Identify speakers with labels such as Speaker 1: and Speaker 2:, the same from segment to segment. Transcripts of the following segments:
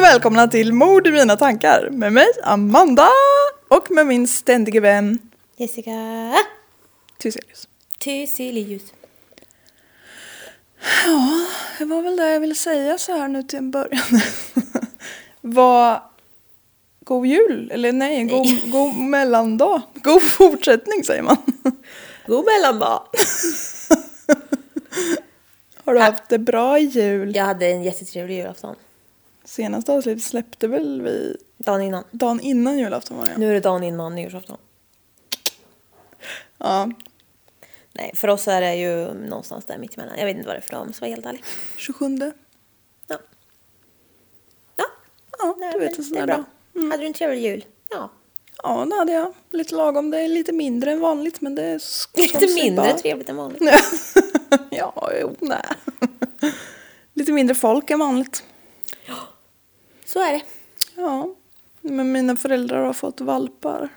Speaker 1: välkomna till Mord i mina tankar med mig Amanda och med min ständige vän
Speaker 2: Jessica
Speaker 1: Tyselius.
Speaker 2: Thyselius.
Speaker 1: Ja, det var väl det jag ville säga så här nu till en början. Vad... God jul, eller nej, god, god mellandag. God fortsättning säger man.
Speaker 2: God mellandag!
Speaker 1: Har du haft det bra i jul?
Speaker 2: Jag hade en jättetrevlig julafton.
Speaker 1: Senaste avsnittet släppte väl vi
Speaker 2: Dagen innan.
Speaker 1: dagen innan julafton var det ja.
Speaker 2: Nu är det dagen innan nyårsafton.
Speaker 1: ja.
Speaker 2: Nej, för oss är det ju någonstans där mittemellan. Jag vet inte vad det är för dag om jag ska vara helt ärlig.
Speaker 1: 27.
Speaker 2: Ja. Ja,
Speaker 1: Ja,
Speaker 2: nej,
Speaker 1: du
Speaker 2: men
Speaker 1: vet en sån
Speaker 2: det är
Speaker 1: där
Speaker 2: bra. Mm.
Speaker 1: dag.
Speaker 2: Hade du en trevlig jul? Ja.
Speaker 1: Ja, det hade jag. Lite lagom. Det är lite mindre än vanligt, men det är sk- som
Speaker 2: Lite
Speaker 1: sig
Speaker 2: mindre
Speaker 1: bör.
Speaker 2: trevligt än vanligt.
Speaker 1: ja, jo, nej. lite mindre folk än vanligt.
Speaker 2: Så är det.
Speaker 1: Ja. Men mina föräldrar har fått valpar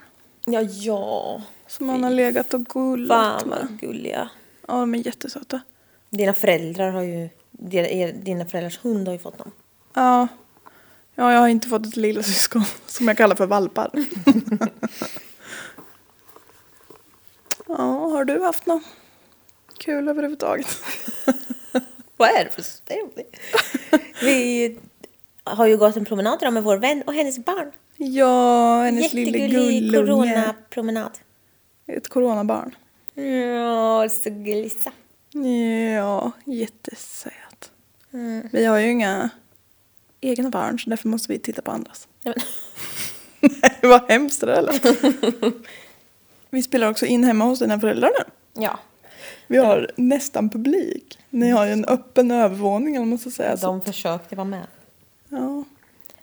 Speaker 2: Ja, ja.
Speaker 1: som man har legat och gullat
Speaker 2: Fan
Speaker 1: med.
Speaker 2: vad gulliga.
Speaker 1: Ja, de är jättesöta.
Speaker 2: Dina föräldrar har ju... Dina, er, dina föräldrars hund har ju fått dem.
Speaker 1: Ja. ja, jag har inte fått ett lilla syskon som jag kallar för valpar. ja, har du haft något kul överhuvudtaget?
Speaker 2: Vad är det för stämning? Vi har ju gått en promenad idag med vår vän och hennes barn.
Speaker 1: Ja, hennes lille
Speaker 2: Jättegullig
Speaker 1: gullunge.
Speaker 2: coronapromenad.
Speaker 1: Ett coronabarn.
Speaker 2: Ja, så gullig.
Speaker 1: Ja, jättesöt.
Speaker 2: Mm.
Speaker 1: Vi har ju inga egna barn så därför måste vi titta på andras.
Speaker 2: Ja, men-
Speaker 1: Nej, vad hemskt det där lät. Vi spelar också in hemma hos dina föräldrar nu.
Speaker 2: Ja,
Speaker 1: Vi har nästan publik. Ni har ju en öppen övervåning om man ska säga så.
Speaker 2: de försökte vara med.
Speaker 1: Ja.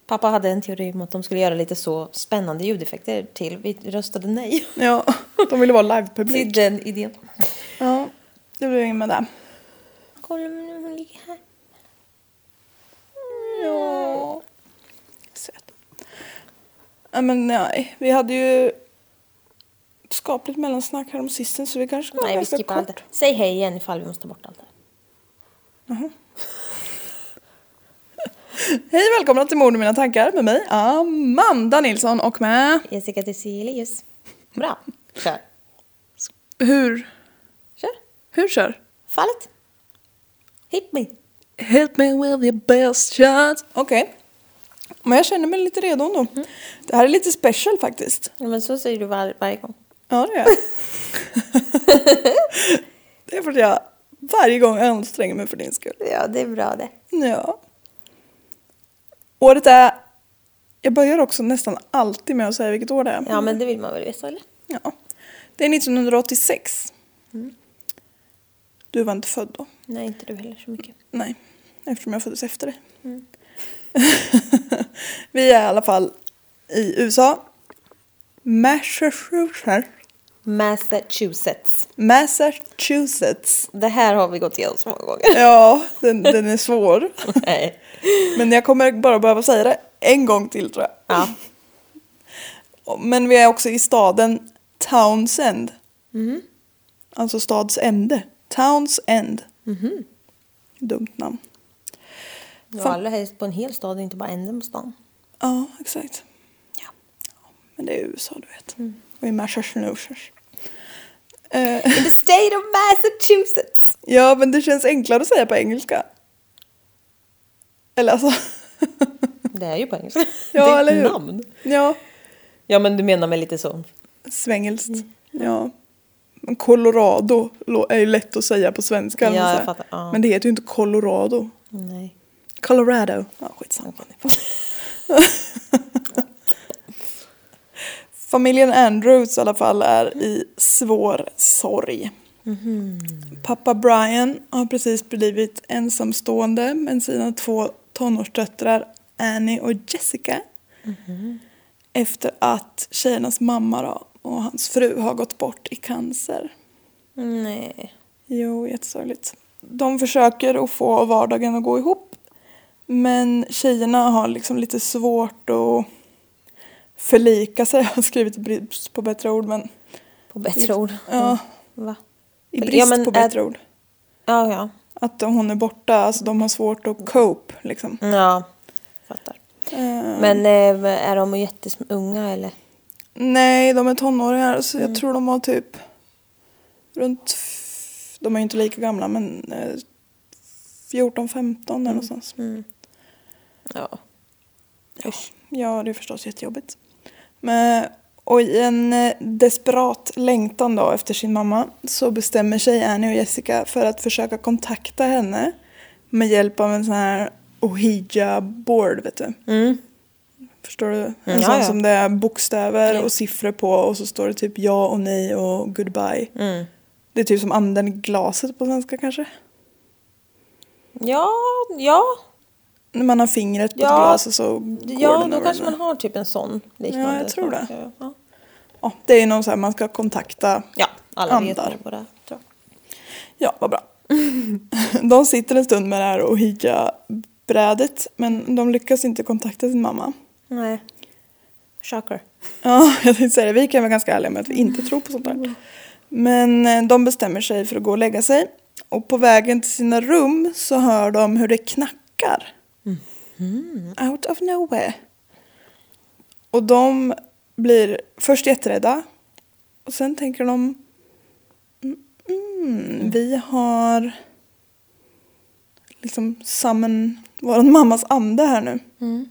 Speaker 2: Pappa hade en teori om att de skulle göra lite så spännande ljudeffekter till. Vi röstade nej
Speaker 1: ja, de ville vara
Speaker 2: till
Speaker 1: livepublik.
Speaker 2: den idén.
Speaker 1: Ja, det blev inget med det.
Speaker 2: Kolla nu, hon ligger här.
Speaker 1: Ja. Söt. Ja, men nej, vi hade ju skapligt mellansnack här om sisten så vi kanske ska
Speaker 2: Nej, vi
Speaker 1: ganska
Speaker 2: skippar allt det. Säg hej igen ifall vi måste ta bort allt det.
Speaker 1: Hej och välkomna till Mord i mina tankar med mig Amanda Nilsson och med
Speaker 2: Jessica Thyselius. Bra. Kör.
Speaker 1: Hur?
Speaker 2: Kör.
Speaker 1: Hur kör?
Speaker 2: Fallet. Hit me.
Speaker 1: Hit me with your best shot. Mm. Okej. Men jag känner mig lite redo ändå. Det här är lite special faktiskt.
Speaker 2: Ja, men så säger du var, varje gång.
Speaker 1: Ja, det är jag. Det är för att jag varje gång anstränger mig för din skull.
Speaker 2: Ja, det är bra det.
Speaker 1: Ja. Året är... Jag börjar också nästan alltid med att säga vilket år det är.
Speaker 2: Ja, men det vill man väl veta, eller?
Speaker 1: Ja. Det är 1986. Du var inte född då?
Speaker 2: Nej, inte du heller så mycket.
Speaker 1: Nej, eftersom jag föddes efter dig. Vi är i alla fall i USA. Massachusetts.
Speaker 2: Massachusetts.
Speaker 1: Massachusetts.
Speaker 2: Det här har vi gått igenom så många gånger.
Speaker 1: Ja, den, den är svår.
Speaker 2: Nej.
Speaker 1: Men jag kommer bara behöva säga det en gång till tror jag.
Speaker 2: Ja.
Speaker 1: Men vi är också i staden Townsend.
Speaker 2: Mhm,
Speaker 1: Alltså stads ände. Townsend.
Speaker 2: mhm.
Speaker 1: Dumt namn.
Speaker 2: Och allra helst på en hel stad, inte bara änden på stan.
Speaker 1: Ja, exakt.
Speaker 2: Ja. Mm.
Speaker 1: Men det är USA du vet. Och i Massachusetts.
Speaker 2: In the state of Massachusetts!
Speaker 1: Ja, men det känns enklare att säga på engelska. Eller alltså...
Speaker 2: Det är ju på engelska.
Speaker 1: Ja,
Speaker 2: det är
Speaker 1: eller hur?
Speaker 2: ett namn.
Speaker 1: Ja,
Speaker 2: Ja, men du menar med lite så.
Speaker 1: svengelskt.
Speaker 2: Mm.
Speaker 1: Ja. Men Colorado lå- är ju lätt att säga på svenska. eller
Speaker 2: Ja,
Speaker 1: så
Speaker 2: jag
Speaker 1: här.
Speaker 2: fattar, ja.
Speaker 1: Men det heter ju inte Colorado.
Speaker 2: Nej.
Speaker 1: Colorado. Ja, skitsamma. Familjen Andrews i alla fall är i svår sorg. Pappa Brian har precis blivit ensamstående med sina två tonårsdöttrar Annie och Jessica.
Speaker 2: Mhm.
Speaker 1: Efter att tjejernas mamma då, och hans fru har gått bort i cancer.
Speaker 2: Nej.
Speaker 1: Jo, jättesorgligt. De försöker att få vardagen att gå ihop. Men tjejerna har liksom lite svårt att förlika sig. Jag har skrivit i brist på bättre ord, men
Speaker 2: På bättre ord. Mm.
Speaker 1: ja,
Speaker 2: Va?
Speaker 1: i
Speaker 2: Ja,
Speaker 1: brist
Speaker 2: men
Speaker 1: på
Speaker 2: är-
Speaker 1: bättre ord.
Speaker 2: Ja, ja.
Speaker 1: Att hon är borta, alltså de har svårt att cope liksom.
Speaker 2: Ja. Fattar.
Speaker 1: Eh,
Speaker 2: Men eh, är de jätteunga eller?
Speaker 1: Nej, de är tonåringar så jag tror de var typ runt, f- de är ju inte lika gamla men eh, 14-15 där någonstans.
Speaker 2: Ja.
Speaker 1: Ja. ja, det är förstås jättejobbigt. Men, och i en eh, desperat längtan då efter sin mamma så bestämmer sig Annie och Jessica för att försöka kontakta henne med hjälp av en sån här ohija board vet du.
Speaker 2: Mm.
Speaker 1: Förstår du? En
Speaker 2: ja,
Speaker 1: sån
Speaker 2: ja.
Speaker 1: som det är bokstäver
Speaker 2: Ja.
Speaker 1: och siffror på och så står det typ ja och nej och goodbye.
Speaker 2: Mm.
Speaker 1: Det är typ som anden i glaset på svenska kanske.
Speaker 2: Ja, ja,
Speaker 1: När man har fingret på ett
Speaker 2: Ja.
Speaker 1: glas och så går
Speaker 2: ja
Speaker 1: den
Speaker 2: då
Speaker 1: över
Speaker 2: kanske
Speaker 1: den.
Speaker 2: man har typ en sån liknande.
Speaker 1: Ja, jag tror
Speaker 2: sak.
Speaker 1: det.
Speaker 2: Ja,
Speaker 1: Ja, det är ju någon så här man ska kontakta
Speaker 2: ja alla
Speaker 1: Andar.
Speaker 2: vet nog vad det är, tror jag.
Speaker 1: Ja, vad bra. De sitter en stund med det här ohija-brädet men de lyckas inte kontakta sin mamma.
Speaker 2: Nej. Shocker.
Speaker 1: Ja, jag tänkte säga det, vi kan vara ganska ärliga med att vi inte tror på sånt där. Men eh, de bestämmer sig för att gå och lägga sig och på vägen till sina rum så hör de hur det knackar. Out of nowhere. Och de blir först jätterädda och sen tänker de mm, vi har liksom summon våran mammas ande här nu.
Speaker 2: Mm.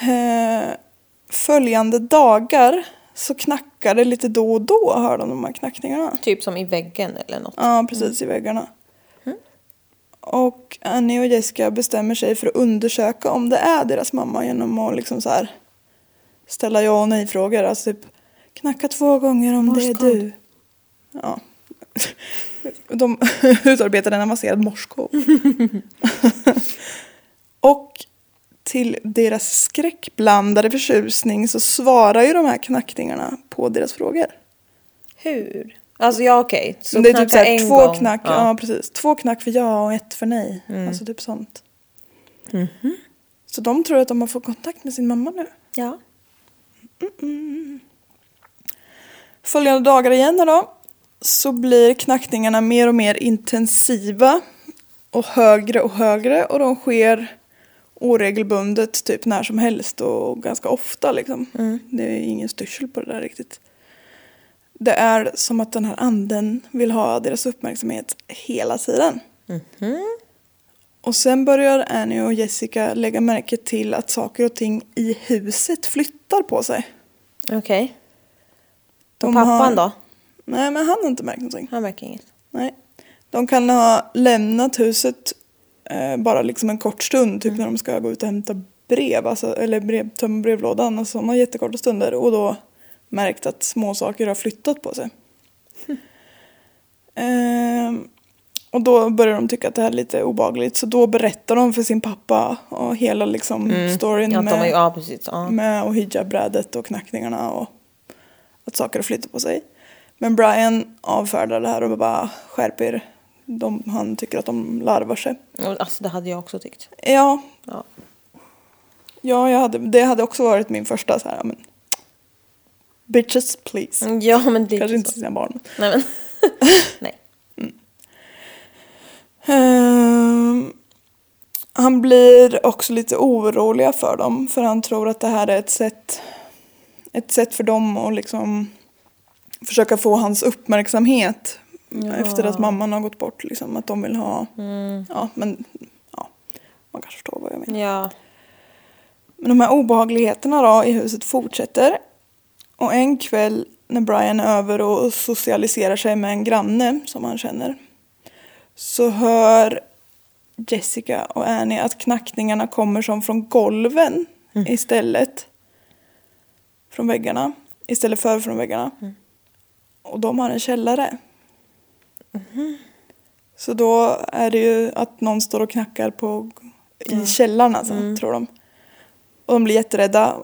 Speaker 1: Eh, följande dagar så knackar det lite då och då, hör de de här knackningarna.
Speaker 2: Typ som i väggen eller något. Mm.
Speaker 1: Ja, precis i väggarna. Och Annie och Jessica bestämmer sig för att undersöka om det är deras mamma genom att liksom så här ställa ja och nej-frågor. Alltså typ knacka två gånger om det är
Speaker 2: Morskod.
Speaker 1: du. Ja. De utarbetade en avancerad morskod. och till deras skräckblandade förtjusning så svarar ju de här knackningarna på deras frågor.
Speaker 2: Hur? Alltså ja okej. Så
Speaker 1: det är
Speaker 2: knacka
Speaker 1: typ såhär,
Speaker 2: en
Speaker 1: två
Speaker 2: gång.
Speaker 1: knack, ja.
Speaker 2: Ja. Mm.
Speaker 1: precis. Två knack för ja och ett för nej. Alltså typ sånt.
Speaker 2: Mhm.
Speaker 1: Så de tror att de har fått kontakt med sin mamma nu.
Speaker 2: ja.
Speaker 1: Följande dagar igen då, så blir knackningarna mer och mer intensiva och högre och högre och de sker oregelbundet typ när som helst och ganska ofta liksom.
Speaker 2: Mm.
Speaker 1: Det är ingen styrsel på det där riktigt. Det är som att den här anden vill ha deras uppmärksamhet hela tiden.
Speaker 2: Mhm.
Speaker 1: Och sen börjar Annie och Jessica lägga märke till att saker och ting i huset flyttar på sig.
Speaker 2: Okej.
Speaker 1: De
Speaker 2: Och pappan
Speaker 1: har-
Speaker 2: då?
Speaker 1: Nej, men han har inte märkt någonting.
Speaker 2: Han märker inget.
Speaker 1: Nej. De kan ha lämnat huset eh, bara liksom en kort stund, typ
Speaker 2: Mm.
Speaker 1: när de ska gå ut och hämta brev, alltså, eller brev, tömma brevlådan, alltså sådana jättekorta stunder och då märkt att småsaker har flyttat på sig. Ehm, och då börjar de tycka att det här är lite obagligt så då berättar de för sin pappa och hela liksom storyn
Speaker 2: Mm. Ja, de har
Speaker 1: med,
Speaker 2: ju, ja precis. Ja.
Speaker 1: med och hijab-brädet och knackningarna och att saker flyttar på sig. Men Brian avfärdar det här och bara skärper de, Han tycker att de larvar sig.
Speaker 2: Och Alltså det hade jag också tyckt.
Speaker 1: Ja,
Speaker 2: Ja.
Speaker 1: ja jag hade, det hade också varit min första så här, ja, men Bitches please.
Speaker 2: Ja men det
Speaker 1: Kanske inte
Speaker 2: är inte Mm, så.
Speaker 1: sina barn.
Speaker 2: Nej men. Nej.
Speaker 1: Ehm, han blir också lite oroliga för dem för han tror att det här är ett sätt, ett sätt för dem att liksom försöka få hans uppmärksamhet efter att mamman har gått bort. Liksom, att de vill ha... Ja, men ja, man kanske förstår vad jag menar.
Speaker 2: Mm. Ja.
Speaker 1: Men de här obehagligheterna då i huset fortsätter. Och en kväll när Brian är över och socialiserar sig med en granne som han känner så hör Jessica och Annie att knackningarna kommer som från golven istället. Från väggarna. Istället för från väggarna. Och de har en källare. Så då är det ju att någon står och knackar på, i källaren alltså, tror de. Och de blir jätterädda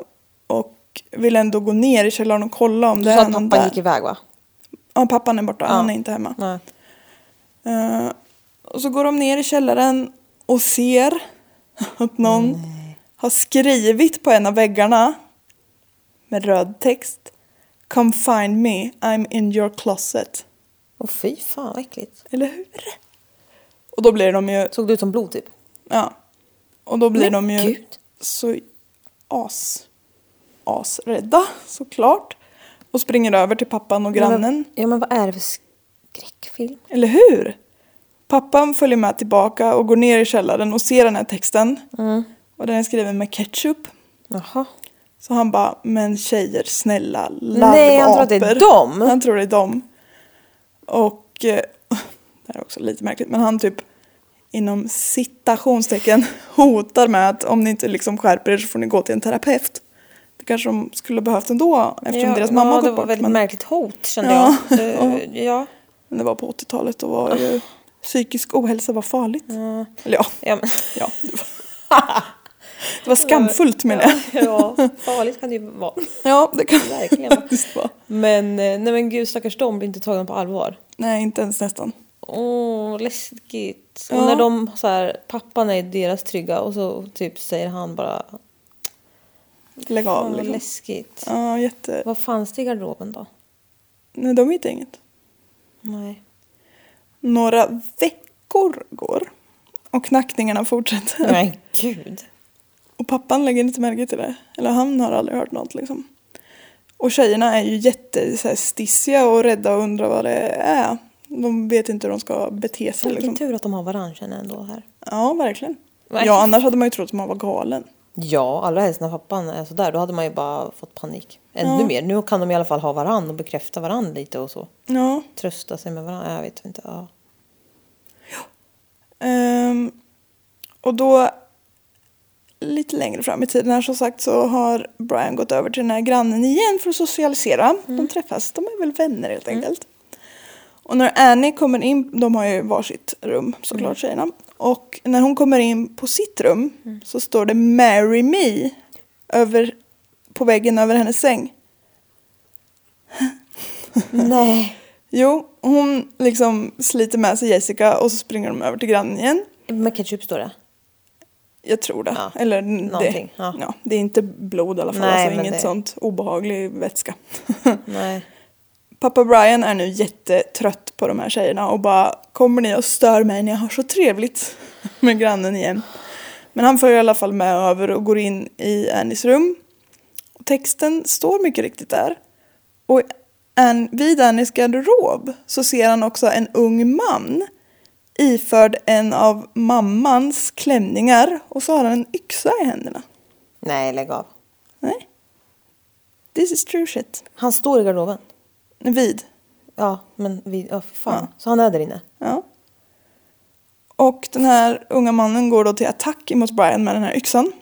Speaker 1: och vill ändå gå ner i källaren och kolla om det
Speaker 2: Du sa
Speaker 1: är
Speaker 2: att
Speaker 1: någon
Speaker 2: pappan
Speaker 1: där.
Speaker 2: gick iväg va?
Speaker 1: Ja, pappan är borta. Han är inte hemma.
Speaker 2: Nej.
Speaker 1: Eh, och så går de ner i källaren och ser att någon har skrivit på en av väggarna med röd text. Come find me, I'm in your closet.
Speaker 2: Åh fy fan vad äckligt.
Speaker 1: Eller hur? Och då blir de ju...
Speaker 2: Såg det ut som blod typ?
Speaker 1: Ja. Och då blir
Speaker 2: Men
Speaker 1: de ju...
Speaker 2: Gud.
Speaker 1: så as, asrädda såklart. Och springer över till pappan och grannen.
Speaker 2: Men, vad- ja, men vad är det för skräckfilm?
Speaker 1: Eller hur? Pappan följer med tillbaka och går ner i källaren och ser den här texten. Och den är skriven med ketchup.
Speaker 2: Mm. Jaha.
Speaker 1: Så han bara, men tjejer snälla,
Speaker 2: Nej, han tror att det är
Speaker 1: larvapor."
Speaker 2: dem.
Speaker 1: Han tror det är dem. Och, eh, det här är också lite märkligt, men han typ inom citationstecken hotar med att om ni inte liksom skärper er så får ni gå till en terapeut. Det kanske de skulle ha behövt ändå eftersom
Speaker 2: ja,
Speaker 1: deras mamma
Speaker 2: ja,
Speaker 1: har
Speaker 2: det
Speaker 1: gått
Speaker 2: var
Speaker 1: bort.
Speaker 2: väldigt
Speaker 1: Men,
Speaker 2: märkligt hot kände
Speaker 1: Ja.
Speaker 2: jag. Eh, ja.
Speaker 1: men det var på 80-talet och var ju psykisk ohälsa var farligt. Eller ja,
Speaker 2: Ja, men,
Speaker 1: ja. Det var, det var skamfullt menar jag.
Speaker 2: ja, farligt kan det ju vara.
Speaker 1: Ja, det kan
Speaker 2: Verkligen.
Speaker 1: faktiskt vara.
Speaker 2: Men, eh, nej men gud stackars de blir inte tagna på allvar.
Speaker 1: Nej, inte ens nästan.
Speaker 2: Åh, läskigt.
Speaker 1: Ja.
Speaker 2: Och när de så här, pappan är deras trygga och så typ säger han bara
Speaker 1: Lägg
Speaker 2: Fan
Speaker 1: av
Speaker 2: vad
Speaker 1: liksom.
Speaker 2: läskigt.
Speaker 1: Ja, jätte...
Speaker 2: Vad fanns det i garderoben då?
Speaker 1: Nej, de hittar inget.
Speaker 2: Nej.
Speaker 1: Några veckor går och knackningarna fortsätter.
Speaker 2: Nej, gud.
Speaker 1: Och pappan lägger inte märke till det. Eller han har aldrig hört något liksom. Och tjejerna är ju jätte så här, stissiga och rädda och undrar vad det är. De vet inte hur de ska bete sig
Speaker 2: Vilken
Speaker 1: liksom.
Speaker 2: tur att de har varandra känner jag ändå här.
Speaker 1: Ja, verkligen.
Speaker 2: Nej.
Speaker 1: Ja, annars hade man ju trott att man var galen.
Speaker 2: Ja, allra helst när pappan är sådär. Då hade man ju bara fått panik. Ännu mer. Nu kan de i alla fall ha varandra och bekräfta varandra lite och så.
Speaker 1: Ja.
Speaker 2: Trösta sig med varandra. Jag vet inte. Ja.
Speaker 1: Ehm, och då lite längre fram i tiden här som sagt så har Brian gått över till den här grannen igen för att socialisera.
Speaker 2: Mm.
Speaker 1: De träffas, de är väl vänner helt enkelt. Och när Annie kommer in, de har ju varsitt rum såklart
Speaker 2: Mm.
Speaker 1: tjejerna. Och när hon kommer in på sitt rum
Speaker 2: Mm.
Speaker 1: så står det Marry Me över, på väggen över hennes säng.
Speaker 2: Nej.
Speaker 1: Jo, hon liksom sliter med sig Jessica och så springer de över till grannen igen.
Speaker 2: Med ketchup står det.
Speaker 1: Jag tror det.
Speaker 2: Ja,
Speaker 1: Eller det,
Speaker 2: någonting,
Speaker 1: ja.
Speaker 2: ja.
Speaker 1: det är inte blod i alla fall,
Speaker 2: Nej,
Speaker 1: alltså
Speaker 2: men
Speaker 1: inget
Speaker 2: det-
Speaker 1: sånt obehaglig vätska.
Speaker 2: Nej.
Speaker 1: Pappa Brian är nu jättetrött på de här tjejerna och bara kommer ni och stör mig när jag har så trevligt med grannen igen. Men han följer i alla fall med över och går in i Annies rum. Och texten står mycket riktigt där. Och Ann, vid Annies garderob så ser han också en ung man iförd en av mammans klänningar och så har han en yxa i händerna.
Speaker 2: Nej, lägg av.
Speaker 1: Nej. This is true shit.
Speaker 2: Han står i garderoben.
Speaker 1: Vid.
Speaker 2: Ja, men vi, ja, för fan. Så han är där inne.
Speaker 1: Ja. Och den här unga mannen går då till attack emot Brian med den här yxan.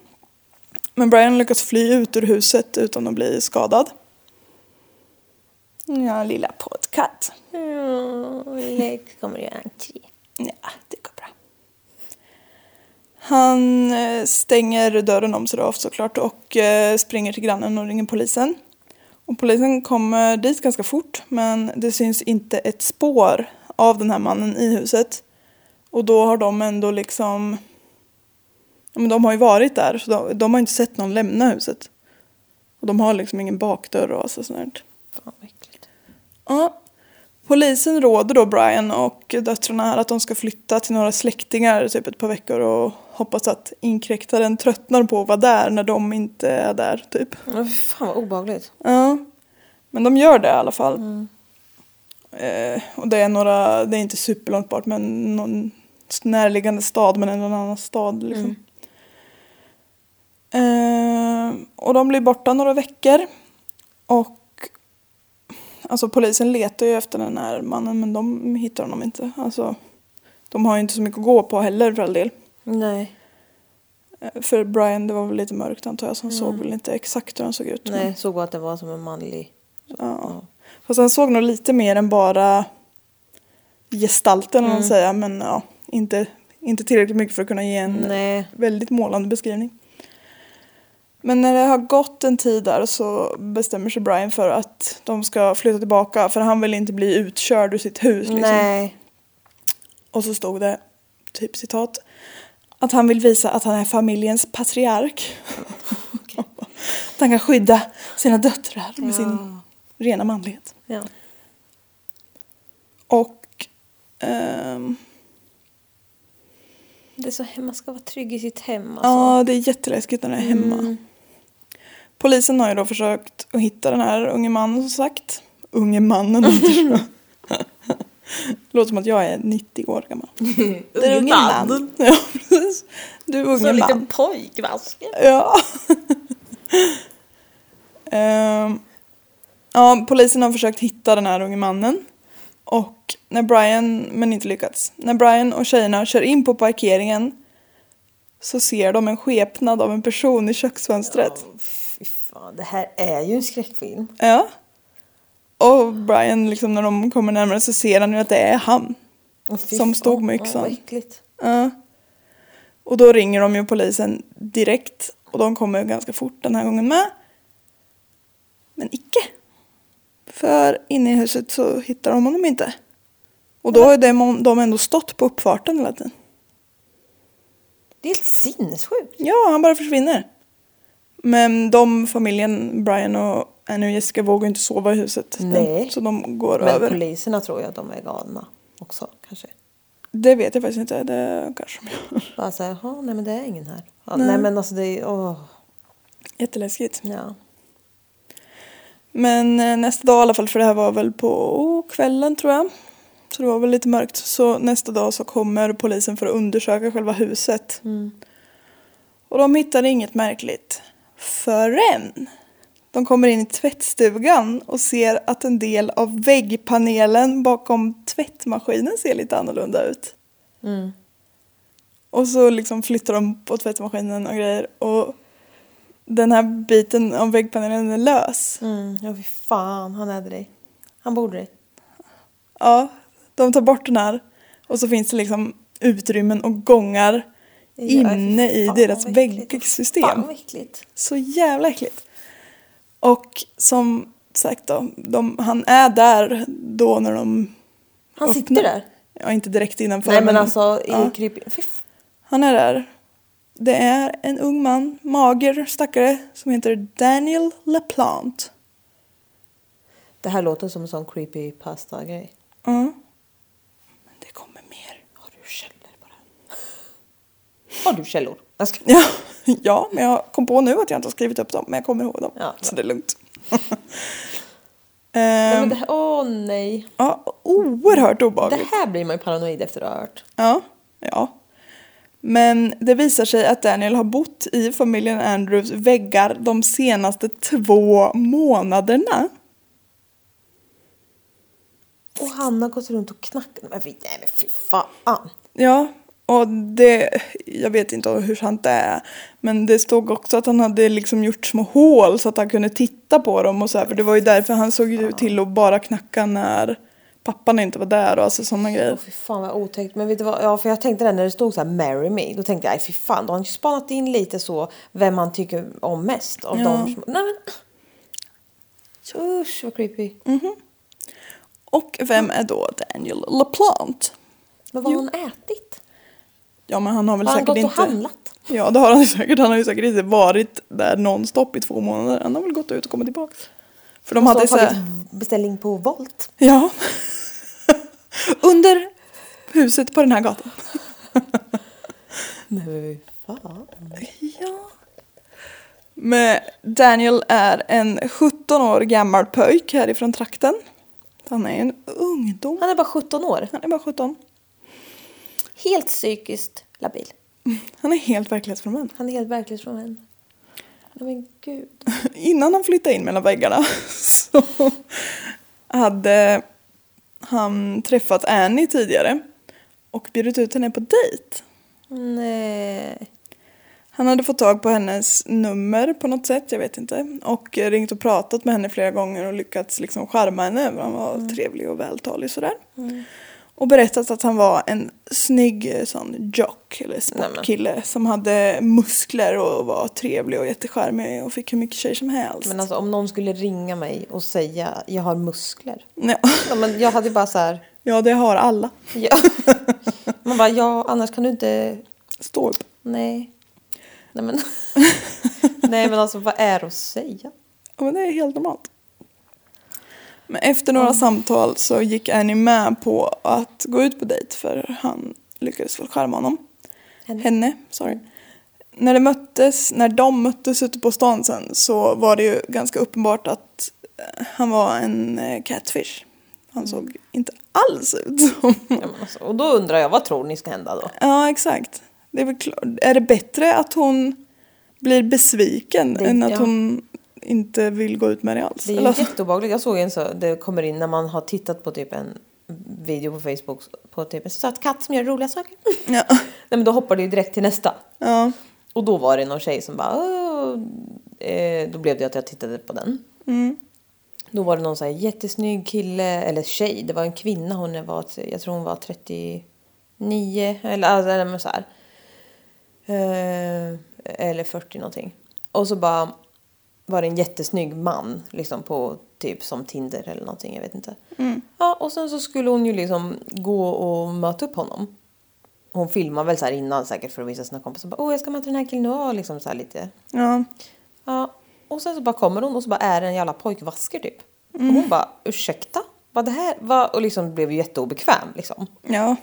Speaker 1: Men Brian lyckas fly ut ur huset utan att bli skadad. Ja, lilla poddkatt.
Speaker 2: Lägg kommer göra entré.
Speaker 1: Ja, det går bra. Han eh, stänger dörren om sig då såklart och eh, springer till grannen och ringer polisen. Och polisen kommer dit ganska fort men det syns inte ett spår av den här mannen i huset. Och då har de ändå liksom... Ja, men de har ju varit där så de, de har inte sett någon lämna huset. Och de har liksom ingen bakdörr och alltså sånt. där.
Speaker 2: Fan vad äckligt.
Speaker 1: Ja. Polisen råder då Brian och döttrarna här att de ska flytta till några släktingar typ ett par veckor och hoppas att inkräktaren tröttnar på att vara där när de inte är där typ.
Speaker 2: Men fy fan vad obehagligt. Mm.
Speaker 1: Ja. Men de gör det i alla fall. Eh, och det är några, det är inte superlångt bort men någon närliggande stad men ändå en annan stad liksom. Eh, och de blir borta några veckor. Och alltså polisen letar ju efter den här mannen men de hittar honom inte. Alltså, de har ju inte så mycket att gå på heller för all del.
Speaker 2: Nej.
Speaker 1: Eh, För Brian det var väl lite mörkt antar jag så han såg väl inte exakt hur han såg ut. men-
Speaker 2: Nej, såg bara att det var som en manlig.
Speaker 1: Ja. Fast han såg nog lite mer än bara gestalten, om man
Speaker 2: Mm.
Speaker 1: säger. Men ja, inte, inte tillräckligt mycket för att kunna ge en
Speaker 2: Nej.
Speaker 1: väldigt målande beskrivning. Men när det har gått en tid där så bestämmer sig Brian för att de ska flytta tillbaka för han vill inte bli utkörd ur sitt hus. Liksom.
Speaker 2: Nej.
Speaker 1: Och så stod det, typ citat, att han vill visa att han är familjens patriark. att han kan skydda sina döttrar med sin rena manlighet.
Speaker 2: Ja.
Speaker 1: Och... ehm,
Speaker 2: Det är så hemma, man ska vara trygg i sitt hem. Alltså. Mm.
Speaker 1: Ja, det är jätteläskigt när det är hemma. Polisen har ju då försökt att hitta den här unge mannen som sagt. Unge mannen låter så. Låter som att jag är 90 år gammal. Det är unge
Speaker 2: alltså.
Speaker 1: man. Ja, precis. Du är unge man.
Speaker 2: pojkvasker.
Speaker 1: Ja. Ehm, ja, polisen har försökt hitta den här unge mannen. Och när Brian, men inte lyckats. När Brian och tjejerna kör in på parkeringen så ser de en skepnad av en person i köksfönstret.
Speaker 2: Fy fan, det här är ju en skräckfilm.
Speaker 1: Ja. Och Brian, liksom när de kommer närmare så ser han ju att det är han.
Speaker 2: Åh, fy
Speaker 1: Som
Speaker 2: fan.
Speaker 1: stod med
Speaker 2: Åh, vad
Speaker 1: yxan.
Speaker 2: äckligt.
Speaker 1: Ja. Och då ringer de ju polisen direkt och de kommer ganska fort den här gången med. Men icke. För inne i huset så hittar de honom inte. Och då har de, de ändå stått på uppfarten hela tiden.
Speaker 2: Det är helt sinnessjukt.
Speaker 1: Ja, han bara försvinner. Men de, familjen, Brian och Annie och Jessica vågar inte sova i huset.
Speaker 2: Nej.
Speaker 1: Så de går
Speaker 2: Men
Speaker 1: över.
Speaker 2: poliserna tror jag de är galna också kanske.
Speaker 1: Det vet jag faktiskt inte. Det kanske de gör.
Speaker 2: Bara så här, "Jaha, nej men det är ingen här. Ja,
Speaker 1: Nej.
Speaker 2: nej. men alltså det är, åh,
Speaker 1: Jätteläskigt.
Speaker 2: ja.
Speaker 1: Men eh, nästa dag i alla fall, för det här var väl på kvällen tror jag. Så det var väl lite mörkt. Så nästa dag så kommer polisen för att undersöka själva huset.
Speaker 2: Mm,
Speaker 1: Och de hittar inget märkligt. Förrän de kommer in i tvättstugan och ser att en del av väggpanelen bakom tvättmaskinen ser lite annorlunda ut.
Speaker 2: Mm.
Speaker 1: Och så liksom flyttar de på tvättmaskinen och grejer. Och den här biten av väggpanelen är lös.
Speaker 2: Mm. Ja, fy fan, han äter dig. Han borde dig.
Speaker 1: Ja, de tar bort den här och så finns det liksom utrymmen och gångar
Speaker 2: Ja,
Speaker 1: inne i
Speaker 2: fy fan,
Speaker 1: deras
Speaker 2: vad äckligt.
Speaker 1: väggsystem.
Speaker 2: Fan vad äckligt.
Speaker 1: Så jävla äckligt. Och som sagt då, de, han är där då när de,
Speaker 2: Han
Speaker 1: Öppna.
Speaker 2: sitter där.
Speaker 1: ja inte direkt innanför
Speaker 2: Nej men alltså i
Speaker 1: ja.
Speaker 2: kryp... Fy f-
Speaker 1: han är där. Det är en ung man, mager stackare, som heter Daniel LaPlante.
Speaker 2: Det här låter som en sån creepy pasta grej.
Speaker 1: Ja. Men det kommer mer.
Speaker 2: Har du källor på det här? Har du källor? Jag ska...
Speaker 1: Ja, ja, men jag kom på nu att jag inte har skrivit upp dem, men jag kommer ihåg dem.
Speaker 2: Ja,
Speaker 1: så
Speaker 2: bra.
Speaker 1: det är lugnt.
Speaker 2: Nej, men
Speaker 1: Ehm,
Speaker 2: det här... Åh nej.
Speaker 1: ja, oerhört
Speaker 2: Det
Speaker 1: obehagligt.
Speaker 2: här blir man ju paranoid efter att ha hört.
Speaker 1: Ja, ja. Men det visar sig att Daniel har bott i familjen Andrews väggar de senaste två månaderna.
Speaker 2: Och han har gått runt och knackat. Men fy, nej, men fy fan.
Speaker 1: Ja, och det, jag vet inte hur sant det är, men det stod också att han hade liksom gjort små hål så att han kunde titta på dem och så här, för det var ju därför han såg ju till att bara knacka när pappan inte var där och alltså sådana
Speaker 2: Åh
Speaker 1: grejer.
Speaker 2: fy fan vad otäckt. Men vet du vad? Ja, för jag tänkte det när det stod så här marry me. Då tänkte jag "Aj, fy fan. Då har han ju spanat in lite så vem man tycker om mest. Av
Speaker 1: Ja.
Speaker 2: de som... Nej men. Usch vad creepy.
Speaker 1: Och vem är då Daniel LaPlante?
Speaker 2: Men vad har han ätit?
Speaker 1: Ja men han har väl
Speaker 2: Har han
Speaker 1: säkert
Speaker 2: gått och
Speaker 1: inte...
Speaker 2: handlat?
Speaker 1: Ja det har han ju säkert. Han har ju säkert inte varit där nonstop i två månader. Han har väl gått ut och kommit tillbaka. För de hade
Speaker 2: och
Speaker 1: så
Speaker 2: så har
Speaker 1: här...
Speaker 2: Alltså, tagit beställning på Volt.
Speaker 1: Ja. Under huset på den här gatan.
Speaker 2: Nej men fy fan.
Speaker 1: Ja. Men Daniel är en 17 år gammal pöjk härifrån trakten. Han är en ungdom.
Speaker 2: Han är bara 17 år.
Speaker 1: Han är bara 17.
Speaker 2: Helt psykiskt labil.
Speaker 1: Han är helt verklighetsfrånvänd.
Speaker 2: Han är helt verklighetsfrånvänd. Nej men gud.
Speaker 1: Innan han flyttade in mellan väggarna så hade han träffat Annie tidigare och bjudit ut henne på dejt.
Speaker 2: Nej.
Speaker 1: Han hade fått tag på hennes nummer på något sätt, jag vet inte. Och eh, ringt och pratat med henne flera gånger och lyckats liksom charma henne. Han var
Speaker 2: Mm.
Speaker 1: trevlig och vältalig sådär. Och berättat att han var en snygg eh, sån jock eller sportkille som hade muskler och var trevlig och jättecharmig och fick hur mycket tjejer som helst.
Speaker 2: Men alltså om någon skulle ringa mig och säga jag har muskler.
Speaker 1: Ja,
Speaker 2: Ja, men jag hade ju bara så här.
Speaker 1: ja, det har alla.
Speaker 2: Ja. Man bara ja annars kan du inte.
Speaker 1: Stå upp.
Speaker 2: Nej. Nej men. Nej men alltså vad är det att säga?
Speaker 1: Ja, men det är helt normalt. Men efter några samtal så gick Annie med på att gå ut på dejt för han lyckades väl charma honom.
Speaker 2: Henne.
Speaker 1: henne, sorry. När, det möttes, när de möttes ute på stan sen så var det ju ganska uppenbart att eh, han var en eh, catfish. Han
Speaker 2: Mm.
Speaker 1: såg inte alls ut som...
Speaker 2: Ja, men alltså, och då undrar jag, vad tror ni ska hända då?
Speaker 1: Ja, exakt. Det är, väl klart. är det bättre att hon blir besviken
Speaker 2: Det-
Speaker 1: än att
Speaker 2: ja.
Speaker 1: hon inte vill gå ut med det alls?
Speaker 2: Det är
Speaker 1: Eller-
Speaker 2: ju jätteobehagligt. Jag såg en så, det kommer in när man har tittat på typ en video på Facebook på typ en söt katt som gör roliga saker.
Speaker 1: ja.
Speaker 2: Nej men då hoppar det ju direkt till nästa.
Speaker 1: ja.
Speaker 2: Och då var det någon tjej som bara "Åh", eh, Då blev det att jag tittade på den.
Speaker 1: Mm.
Speaker 2: Då var det någon så här jättesnygg kille, eller tjej, det var en kvinna, hon var, jag tror hon var 39 eller, alltså, eller men så här. Eh, eller 40 någonting. Och så bara var det en jättesnygg man liksom på typ som Tinder eller någonting, jag vet inte.
Speaker 1: Mm.
Speaker 2: Ja, och sen så skulle hon ju liksom gå och möta upp honom. Hon filmar väl så här innan säkert för att visa sina kompisar. Bara, Åh, jag ska möta den här killen och liksom så här lite
Speaker 1: ja.
Speaker 2: Ja, och sen så bara kommer hon och så bara är det en jävla pojkvasker typ. Och hon bara ursäkta? Vad det här var? Och liksom blev ju jätteobekväm liksom.
Speaker 1: Ja.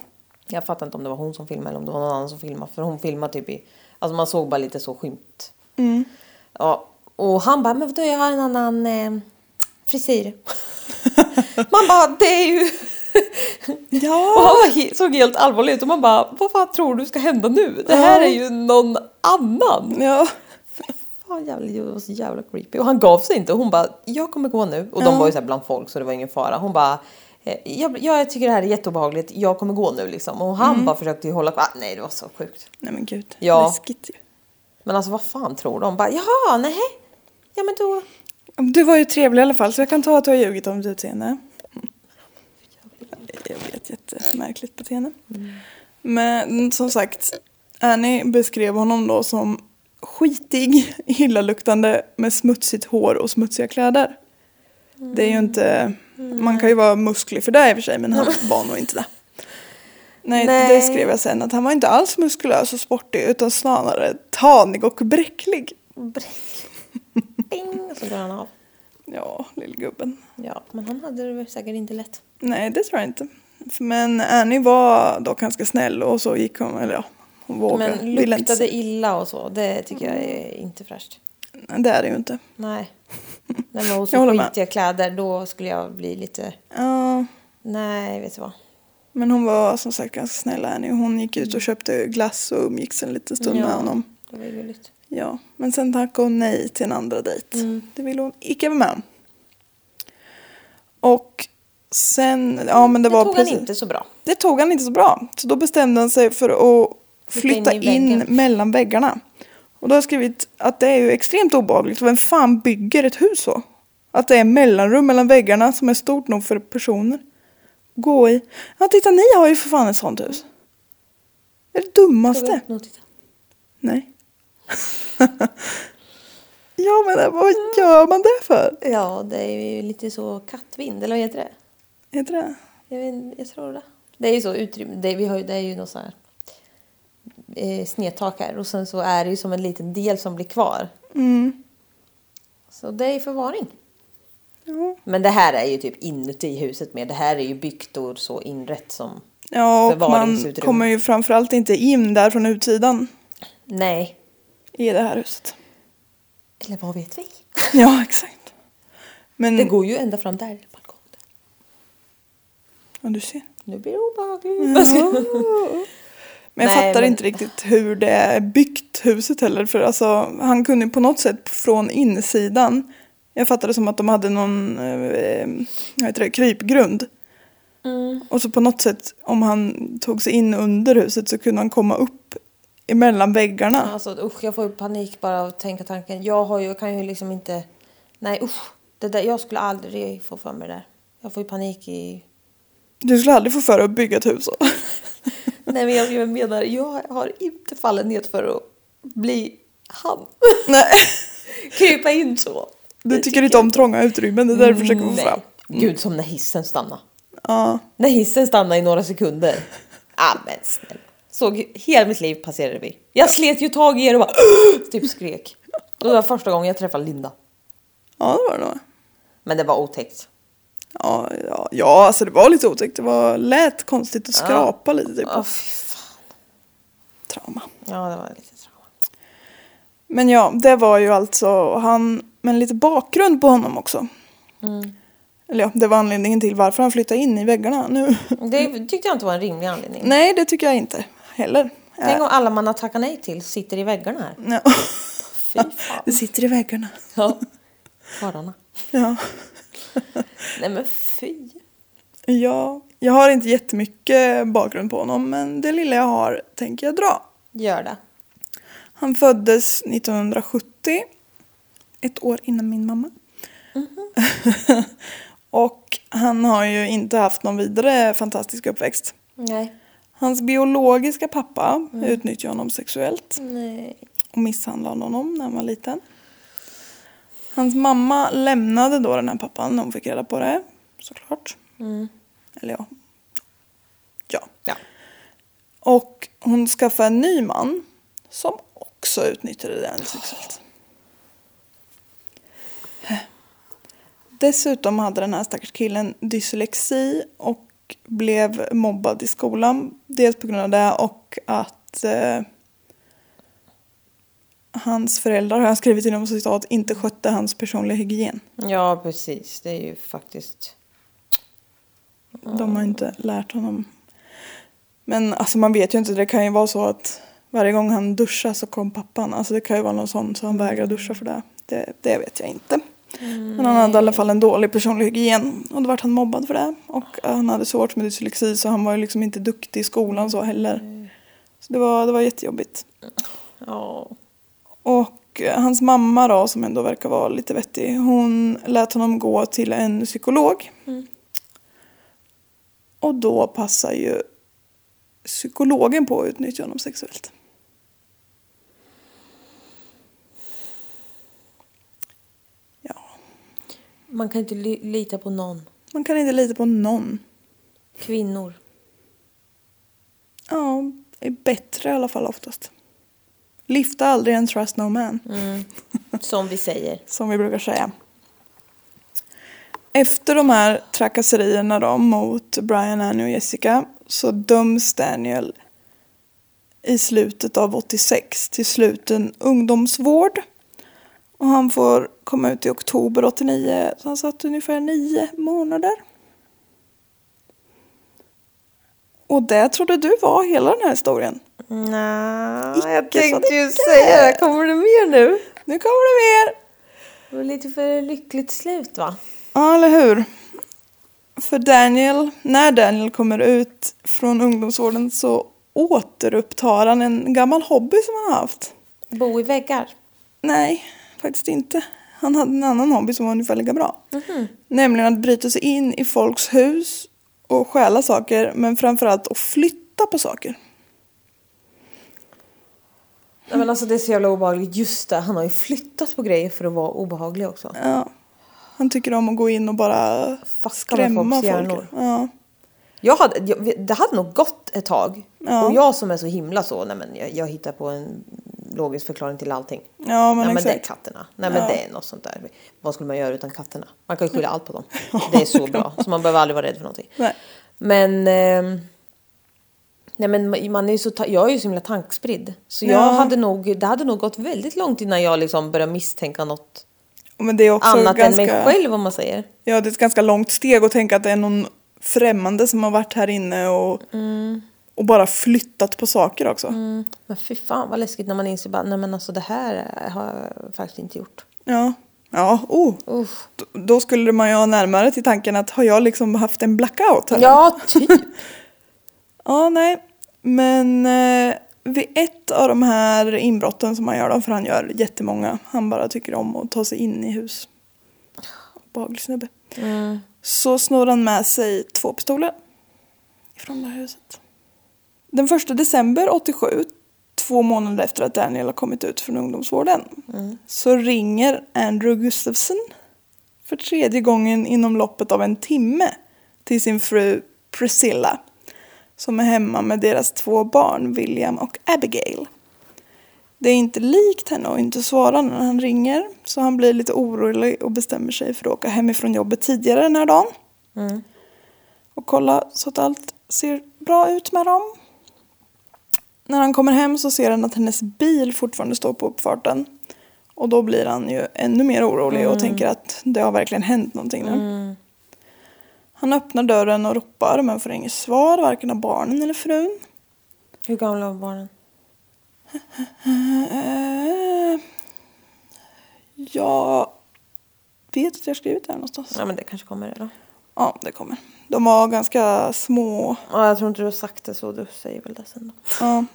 Speaker 2: Jag fattar inte om det var hon som filmade eller om det var någon annan som filmade för hon filmade typ i, alltså man såg bara lite så skymt.
Speaker 1: Mm.
Speaker 2: Ja, och han bara men vadå jag har en annan eh, frisyr. man bara det är ju
Speaker 1: Ja.
Speaker 2: Och han var he- såg helt allvarlig ut och man bara vad fan tror du ska hända nu? Det här är ju någon annan.
Speaker 1: Ja.
Speaker 2: Fan jävla, det var så jävla creepy. Och han gav sig inte. Hon bara, jag kommer gå nu. Och de
Speaker 1: Ja.
Speaker 2: var ju så här bland folk så det var ingen fara. Hon bara, eh, jag, ja, jag tycker det här är jätteobehagligt. Jag kommer gå nu liksom. Och han
Speaker 1: Mm.
Speaker 2: bara försökte ju hålla kvar. Ah, nej, det var så sjukt.
Speaker 1: Nej men gud.
Speaker 2: Ja.
Speaker 1: Läskigt ju.
Speaker 2: Men alltså vad fan tror de? Bara, jaha, nej. Ja men då.
Speaker 1: Du var ju trevlig i alla fall så jag kan ta att du har ljugit om ditt utseende. Jag vet, jättemärkligt beteende. Men som sagt, Annie beskrev honom då som skitig, illaluktande med smutsigt hår och smutsiga kläder. Det är ju inte, man kan ju vara musklig för det i och för sig men han var nog inte det. Nej,
Speaker 2: Nej.
Speaker 1: det skrev jag sen att han var inte alls muskulös och sportig utan snarare tanig och bräcklig.
Speaker 2: Bräck. Bing. Och så går han av.
Speaker 1: Ja, lillgubben.
Speaker 2: Ja, men han hade det väl säkert inte lätt.
Speaker 1: Nej, det tror jag inte. Men Annie var dock ganska snäll och så gick hon, eller ja, hon vågade.
Speaker 2: Men
Speaker 1: ville inte
Speaker 2: luktade illa och så. Det tycker jag är
Speaker 1: Mm.
Speaker 2: inte fräscht.
Speaker 1: se- Det är det ju inte.
Speaker 2: Nej. Nej men och
Speaker 1: Jag
Speaker 2: så
Speaker 1: håller med.
Speaker 2: skitiga kläder. Då skulle jag bli lite,
Speaker 1: Ja,
Speaker 2: nej vet du vad.
Speaker 1: men hon var som sagt ganska snäll Annie. Hon gick ut och köpte glass och umgicks en liten stund
Speaker 2: Mm. Ja.
Speaker 1: med honom.
Speaker 2: Det var ju gulligt.
Speaker 1: Ja, men sen tackade hon nej till en andra dejt.
Speaker 2: Mm.
Speaker 1: Det ville hon icke vara med om. Och sen, ja men det, var
Speaker 2: tog
Speaker 1: precis.
Speaker 2: han inte så bra.
Speaker 1: Det tog han inte så bra. Så då bestämde han sig för att flytta
Speaker 2: in i väggen.
Speaker 1: in, mellan väggarna. Och då har jag skrivit att det är ju extremt obehagligt. Vem fan bygger ett hus så? Att det är mellanrum mellan väggarna som är stort nog för personer. Gå i. Ja, titta ni har ju för fan ett sånt hus. Det är det dummaste. Nej. ja, men vad gör man det för?
Speaker 2: Ja, det är ju lite så kattvind, eller vad heter det?
Speaker 1: Heter det?
Speaker 2: Jag, vet, jag tror det. Det är ju så utrymme, det, vi har, ju- det är ju något så här eh, snedtak här och sen så är det ju som en liten del som blir kvar.
Speaker 1: Mm.
Speaker 2: Så det är ju förvaring.
Speaker 1: Ja.
Speaker 2: Men det här är ju typ inuti huset mer. Det här är ju byggt och så inrett som...
Speaker 1: Ja, och man
Speaker 2: Förvaringsutrymme.
Speaker 1: kommer ju framförallt inte in där från utsidan.
Speaker 2: Nej.
Speaker 1: i det här huset.
Speaker 2: Eller vad vet vi?
Speaker 1: Ja, exakt. Men...
Speaker 2: Det går ju ända fram där i balkongen.
Speaker 1: Ja, du ser.
Speaker 2: Nu blir det obehagligt.
Speaker 1: Men jag
Speaker 2: Nej,
Speaker 1: fattar
Speaker 2: men-
Speaker 1: inte riktigt hur det är byggt huset heller. För alltså, han kunde ju på något sätt från insidan. Jag fattade det som att de hade någon eh, vad heter det, krypgrund.
Speaker 2: Mm.
Speaker 1: Och så på något sätt om han tog sig in under huset så kunde han komma upp emellan väggarna.
Speaker 2: Alltså usch, jag får ju panik bara av att tänka tanken. Jag har ju, jag kan ju liksom inte... Nej usch, det där, jag skulle aldrig få för mig det där. Jag får ju panik i...
Speaker 1: Du skulle aldrig få för dig att bygga ett hus. så.
Speaker 2: Nej men jag, jag menar, jag har inte fallit ner för att bli han.
Speaker 1: Nej,
Speaker 2: Krypa in så.
Speaker 1: du tycker inte om trånga utrymmen. Det är det du försöker få
Speaker 2: Nej.
Speaker 1: fram.
Speaker 2: Gud, som när hissen stannade.
Speaker 1: Ja.
Speaker 2: När hissen stannade i några sekunder. Ah, men snälla. Såg hela mitt liv passerade vi. Jag slet ju tag i er och bara typ skrek. Och det var första gången jag träffade Linda.
Speaker 1: ja, det var det nog.
Speaker 2: Men det var otäckt.
Speaker 1: Ja, ja, ja, alltså det var lite otäckt. Det var, lät konstigt att skrapa lite typ.
Speaker 2: Åh, fy fan.
Speaker 1: trauma.
Speaker 2: Ja, det var lite trauma.
Speaker 1: Men ja, det var ju alltså han, men lite bakgrund på honom också.
Speaker 2: Mm.
Speaker 1: Eller ja, det var anledningen till varför han flyttade in i väggarna nu.
Speaker 2: Det tyckte jag inte var en rimlig anledning.
Speaker 1: Nej, det tycker jag inte heller.
Speaker 2: Tänk om alla man har tackat nej till sitter i väggarna här.
Speaker 1: Ja.
Speaker 2: Fy fan.
Speaker 1: Det sitter i väggarna.
Speaker 2: Ja. Karlarna.
Speaker 1: Ja.
Speaker 2: Nej men fy.
Speaker 1: ja, jag har inte jättemycket bakgrund på honom, men det lilla jag har tänker jag dra.
Speaker 2: Gör det.
Speaker 1: Han föddes 1970, ett år innan min mamma. och han har ju inte haft någon vidare fantastisk uppväxt.
Speaker 2: Nej.
Speaker 1: Hans biologiska pappa utnyttjade honom sexuellt
Speaker 2: Nej.
Speaker 1: och misshandlade honom när han var liten. Hans mamma lämnade då den här pappan när hon fick reda på det, såklart.
Speaker 2: Mm.
Speaker 1: Eller ja. Ja.
Speaker 2: Ja.
Speaker 1: Och hon skaffade en ny man som också utnyttjade den sexuellt. Dessutom hade den här stackars killen dyslexi och blev mobbad i skolan. Dels på grund av det och att eh, hans föräldrar, har jag skrivit inom citat, inte skötte hans personliga hygien.
Speaker 2: Ja precis. Det är ju faktiskt.
Speaker 1: De har inte lärt honom. Men alltså man vet ju inte, det kan ju vara så att varje gång han duschar så kom pappan. Alltså det kan ju vara någon sån så han vägrar duscha för det. Det, det vet jag inte.
Speaker 2: Mm.
Speaker 1: Men han hade i alla fall en dålig personlig hygien och då vart han mobbad för det. Och eh, han hade svårt med dyslexi så han var ju liksom inte duktig i skolan så heller. Så det var, det var jättejobbigt.
Speaker 2: Ja.
Speaker 1: Och eh, hans mamma då, som ändå verkar vara lite vettig, hon lät honom gå till en psykolog. Och då passar ju psykologen på att utnyttja honom sexuellt. Ja,
Speaker 2: Man kan inte li- lita på någon.
Speaker 1: man kan inte lita på någon.
Speaker 2: Kvinnor.
Speaker 1: Ja, är bättre i alla fall oftast. Lyfta aldrig en trust no man.
Speaker 2: Mm. Som vi säger.
Speaker 1: som vi brukar säga. Efter de här trakasserierna då mot Brian, Annie och Jessica så döms Daniel i slutet av 86 till sluten ungdomsvård. Och han får komma ut i oktober 89, så han satt ungefär nio månader. Och det trodde du var hela den här historien.
Speaker 2: Nej,
Speaker 1: Icke
Speaker 2: jag tänkte ju
Speaker 1: så
Speaker 2: säga det.
Speaker 1: mycket.
Speaker 2: Kommer det mer nu?
Speaker 1: Nu kommer det mer!
Speaker 2: Det var lite för lyckligt slut va?
Speaker 1: Ja, eller hur? För Daniel, när Daniel kommer ut från ungdomsvården så återupptar han en gammal hobby som han har haft.
Speaker 2: Bo i väggar.
Speaker 1: Nej, faktiskt inte. Han hade en annan hobby som var ungefär lika bra.
Speaker 2: Mhm.
Speaker 1: Nämligen att bryta sig in i folks hus och stjäla saker, men framförallt att flytta på saker.
Speaker 2: Nej, men alltså det är så jävla obehagligt. Just det, han har ju flyttat på grejer för att vara obehaglig också.
Speaker 1: Ja. Han tycker om att gå in och bara
Speaker 2: folks
Speaker 1: skrämma folk.
Speaker 2: hjärnor.
Speaker 1: Ja.
Speaker 2: Jag hade, jag, det hade nog gått ett tag.
Speaker 1: Ja.
Speaker 2: Och jag som är så himla så, nej men jag, jag hittar på en logisk förklaring till allting.
Speaker 1: ja, men
Speaker 2: nej men det är
Speaker 1: exakt.
Speaker 2: katterna. Nej
Speaker 1: Ja.
Speaker 2: men det är något sånt där. Vad skulle man göra utan katterna? Man kan ju skylla allt på dem. Det är så bra. Så man behöver aldrig vara rädd för någonting.
Speaker 1: Nej.
Speaker 2: Men... ehm, nej men man är ju så, ta- jag är ju så himla tankspridd. Så
Speaker 1: Ja.
Speaker 2: jag hade nog, det hade nog gått väldigt långt innan jag liksom började misstänka något
Speaker 1: Men det är också
Speaker 2: annat
Speaker 1: ganska...
Speaker 2: än mig själv om man säger.
Speaker 1: Ja, det är ett ganska långt steg att tänka att det är någon främmande som har varit här inne och, och bara flyttat på saker också.
Speaker 2: Mm. Men fy fan vad läskigt när man inser bara, nej men alltså det här har jag faktiskt inte gjort.
Speaker 1: Ja. Ja, oh.
Speaker 2: Uff.
Speaker 1: D- Då skulle man ju ha närmare till tanken att har jag liksom haft en blackout här?
Speaker 2: Ja, typ.
Speaker 1: Ja, nej. Men eh, vid ett av de här inbrotten som han gör då, för han gör jättemånga, han bara tycker om att ta sig in i hus. Obehaglig snubbe.
Speaker 2: Mm.
Speaker 1: Så snor han med sig två pistoler ifrån det här huset. Den 1 december 87, två månader efter att Daniel har kommit ut från ungdomsvården,
Speaker 2: Mm.
Speaker 1: så ringer Andrew Gustafsson för tredje gången inom loppet av en timme till sin fru Priscilla som är hemma med deras två barn, William och Abigail. Det är inte likt henne att inte svara när han ringer så han blir lite orolig och bestämmer sig för att åka hemifrån jobbet tidigare den här dagen
Speaker 2: Mm.
Speaker 1: och kolla så att allt ser bra ut med dem. När han kommer hem så ser han att hennes bil fortfarande står på uppfarten. Och då blir han ju ännu mer orolig och tänker att det har verkligen hänt någonting nu.
Speaker 2: Mm.
Speaker 1: Han öppnar dörren och ropar men får inget svar, varken av barnen eller frun.
Speaker 2: Hur gamla var barnen?
Speaker 1: Eh, jag vet att jag har skrivit det här någonstans.
Speaker 2: Ja men det kanske kommer redan.
Speaker 1: Ja, det kommer. De var ganska små.
Speaker 2: Ja, jag tror inte du har sagt det så, du säger väl det sen då.
Speaker 1: Ja,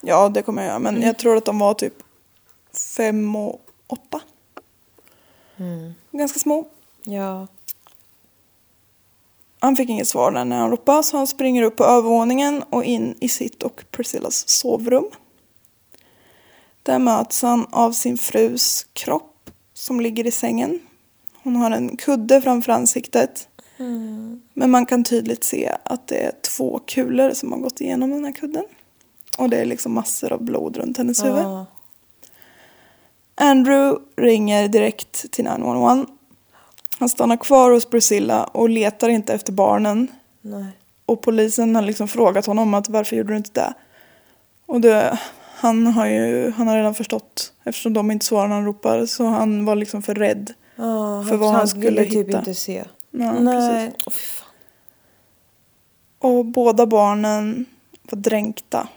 Speaker 1: ja det kommer jag göra. Men jag tror att de var typ fem och åtta. Ganska små.
Speaker 2: Ja.
Speaker 1: Han fick inget svar när han ropade så han springer upp på övervåningen och in i sitt och Priscillas sovrum. Där möts han av sin frus kropp som ligger i sängen. Hon har en kudde framför ansiktet. Men man kan tydligt se att det är två kulor som har gått igenom den här kudden. Och det är liksom massor av blod runt hennes huvud.
Speaker 2: Ja.
Speaker 1: Andrew ringer direkt till 911. Han stannar kvar hos Priscilla och letar inte efter barnen.
Speaker 2: Nej.
Speaker 1: Och polisen har liksom frågat honom att varför gjorde du inte det? Och det, han har ju han har redan förstått eftersom de inte svarar när han ropar så han var liksom för rädd.
Speaker 2: Ja,
Speaker 1: För vad han skulle
Speaker 2: ville typ
Speaker 1: hitta.
Speaker 2: inte se.
Speaker 1: Ja,
Speaker 2: Nej.
Speaker 1: precis.
Speaker 2: Åh, fy fan.
Speaker 1: Och båda barnen var dränkta.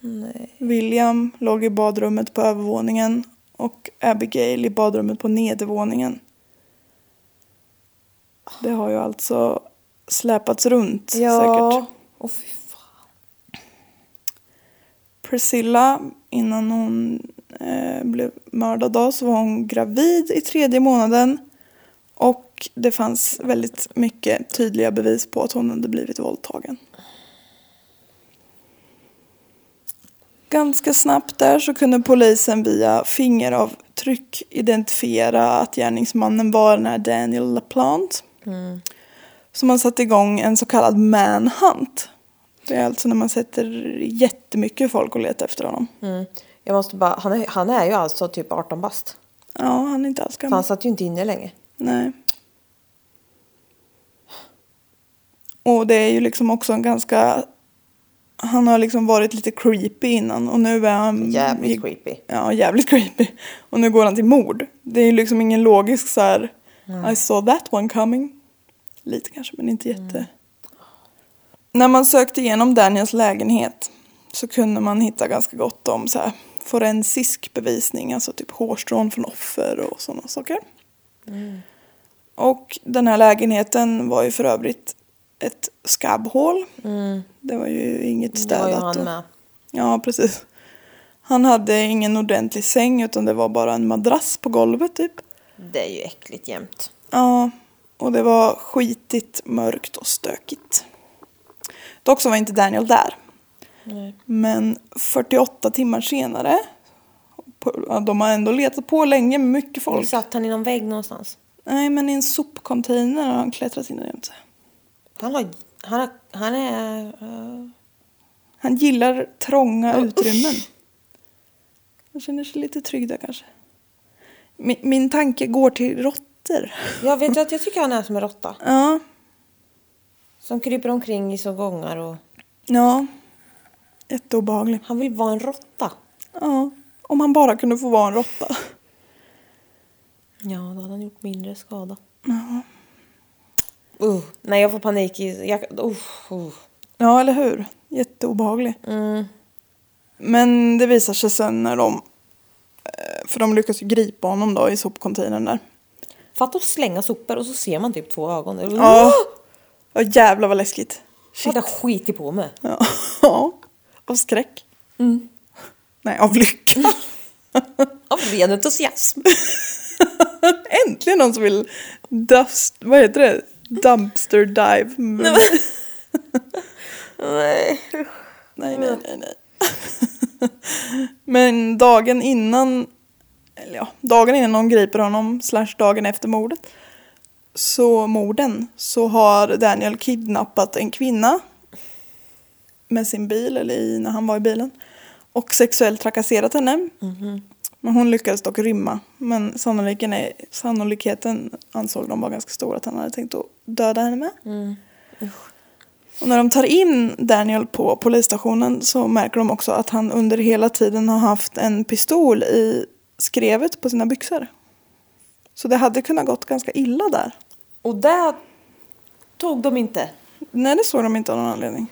Speaker 2: Nej.
Speaker 1: William låg i badrummet på övervåningen och Abigail i badrummet på nedervåningen. Det har ju alltså släpats runt
Speaker 2: Ja.
Speaker 1: säkert.
Speaker 2: Åh, fy fan.
Speaker 1: Priscilla, innan hon eh, blev mördad då, så var hon gravid i tredje månaden. Och det fanns väldigt mycket tydliga bevis på att hon hade blivit våldtagen. Ganska snabbt där så kunde polisen via fingeravtryck identifiera att gärningsmannen var den här Daniel LaPlante.
Speaker 2: Mm.
Speaker 1: Så man satte igång en så kallad manhunt. Det är alltså när man sätter jättemycket folk och letar efter honom.
Speaker 2: Mm. Jag måste bara, han är, han är ju alltså typ 18 bast.
Speaker 1: Ja, han är inte alls
Speaker 2: För
Speaker 1: gammal.
Speaker 2: han satt ju inte inne länge.
Speaker 1: Nej. Och det är ju liksom också en ganska... Han har liksom varit lite creepy innan och nu är han...
Speaker 2: Jävligt creepy.
Speaker 1: Ja, jävligt creepy. Och nu går han till mord. Det är ju liksom ingen logisk så här... I saw that one coming. Lite kanske, men inte
Speaker 2: Mm.
Speaker 1: jätte... När man sökte igenom Daniels lägenhet så kunde man hitta ganska gott om så här forensisk bevisning, alltså typ hårstrån från offer och sådana saker. Mm. Och den här lägenheten var ju för övrigt ett skabbhål.
Speaker 2: Mm.
Speaker 1: Det var ju inget
Speaker 2: Det var
Speaker 1: städat.
Speaker 2: ju han
Speaker 1: och-
Speaker 2: med.
Speaker 1: Ja, precis. Han hade ingen ordentlig säng utan det var bara en madrass på golvet typ.
Speaker 2: Det är ju äckligt jämt.
Speaker 1: Ja, och det var skitigt, mörkt och stökigt. Dock så var inte Daniel där.
Speaker 2: Nej.
Speaker 1: Men 48 timmar senare, på- ja, de har ändå letat på länge med mycket folk.
Speaker 2: Satt han i någon vägg någonstans?
Speaker 1: Nej, men i en sopcontainer har han klättrat in och gömt sig.
Speaker 2: Han har... Han, har, han är... eh,
Speaker 1: Han gillar trånga
Speaker 2: Ja, usch.
Speaker 1: utrymmen. Han känner sig lite trygg där kanske. Min, min tanke går till råttor.
Speaker 2: jag vet ju att jag tycker han är som en råtta.
Speaker 1: Ja,
Speaker 2: Som kryper omkring i så gångar och...
Speaker 1: ja. Jätteobehaglig.
Speaker 2: Han vill vara en råtta.
Speaker 1: Ja, om han bara kunde få vara en råtta.
Speaker 2: Ja, då hade han gjort mindre skada. Uh, nej, jag får panik i... Jag, uh, uh.
Speaker 1: Ja, eller hur? Jätteobehaglig.
Speaker 2: Mm.
Speaker 1: Men det visar sig sen när de... eh, För de lyckas ju gripa honom då i sopcontainern där.
Speaker 2: Fatta att slänga sopor och så ser man typ två ögon.
Speaker 1: Ja. Ja, jävlar vad läskigt.
Speaker 2: Shit. Vad det skitit på mig.
Speaker 1: Ja. ja. Av skräck. Nej, av lycka.
Speaker 2: Av ren entusiasm.
Speaker 1: Äntligen någon som vill dust... Vad heter det? Dumpster dive. Nej,
Speaker 2: nej.
Speaker 1: nej, nej, nej. Men dagen innan... Eller ja, dagen innan de griper honom, slash dagen efter mordet. Så morden, så har Daniel kidnappat en kvinna. Med sin bil, eller i, när han var i bilen. Och sexuellt trakasserat henne.
Speaker 2: Mm-hmm.
Speaker 1: Men hon lyckades dock rymma. Men sannolikheten, är,
Speaker 2: Mm.
Speaker 1: sannolikheten ansåg de var ganska stor att han hade tänkt att döda henne med. Och när de tar in Daniel på polisstationen så märker de också att han under hela tiden har haft en pistol i skrevet på sina byxor. Så det hade kunnat gått ganska illa där.
Speaker 2: Och det tog de inte.
Speaker 1: Nej, det såg de inte av någon anledning.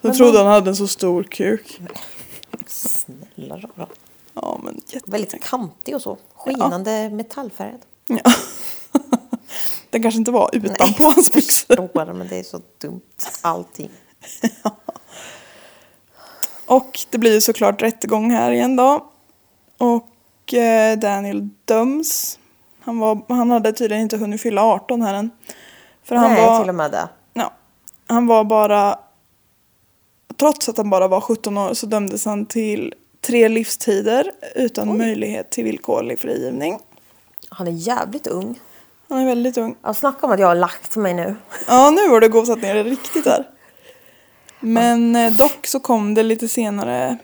Speaker 2: Men
Speaker 1: De trodde
Speaker 2: de-
Speaker 1: han hade en så stor kuk.
Speaker 2: Snälla rara.
Speaker 1: Ja, men jätte...
Speaker 2: Väldigt kantig och så. Skinande metallfärgad.
Speaker 1: Ja. Den kanske inte var utanpå hans byxor.
Speaker 2: Förstår, men det är så dumt. Allting.
Speaker 1: Och det blir ju såklart rättegång här igen då. Och eh, Daniel döms. Han, var, han hade tydligen inte hunnit fylla 18 här än. För han
Speaker 2: Nej,
Speaker 1: var,
Speaker 2: till och med det.
Speaker 1: ja, han var bara... Trots att han bara var 17 år så dömdes han till tre livstider utan möjlighet till villkorlig frigivning.
Speaker 2: Han är jävligt ung.
Speaker 1: Han är väldigt ung.
Speaker 2: Jag snackar om att jag har lagt mig nu.
Speaker 1: Ja, nu har du gosat ner det riktigt här. Men eh, dock så kom det lite senare,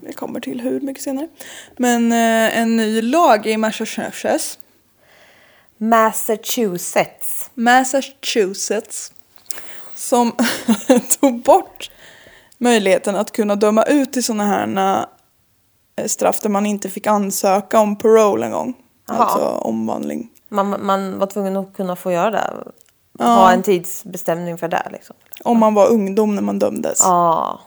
Speaker 1: vi kommer till hur mycket senare, men eh, en ny lag i Massachusetts,
Speaker 2: Massachusetts.
Speaker 1: Massachusetts som tog bort möjligheten att kunna döma ut till sådana här eh, straff där man inte fick ansöka om parole en gång.
Speaker 2: Jaha.
Speaker 1: Alltså omvandling.
Speaker 2: Man, man var tvungen att kunna få göra det. Ha en tidsbestämning för det liksom.
Speaker 1: Om man var ungdom när man dömdes.
Speaker 2: Ja.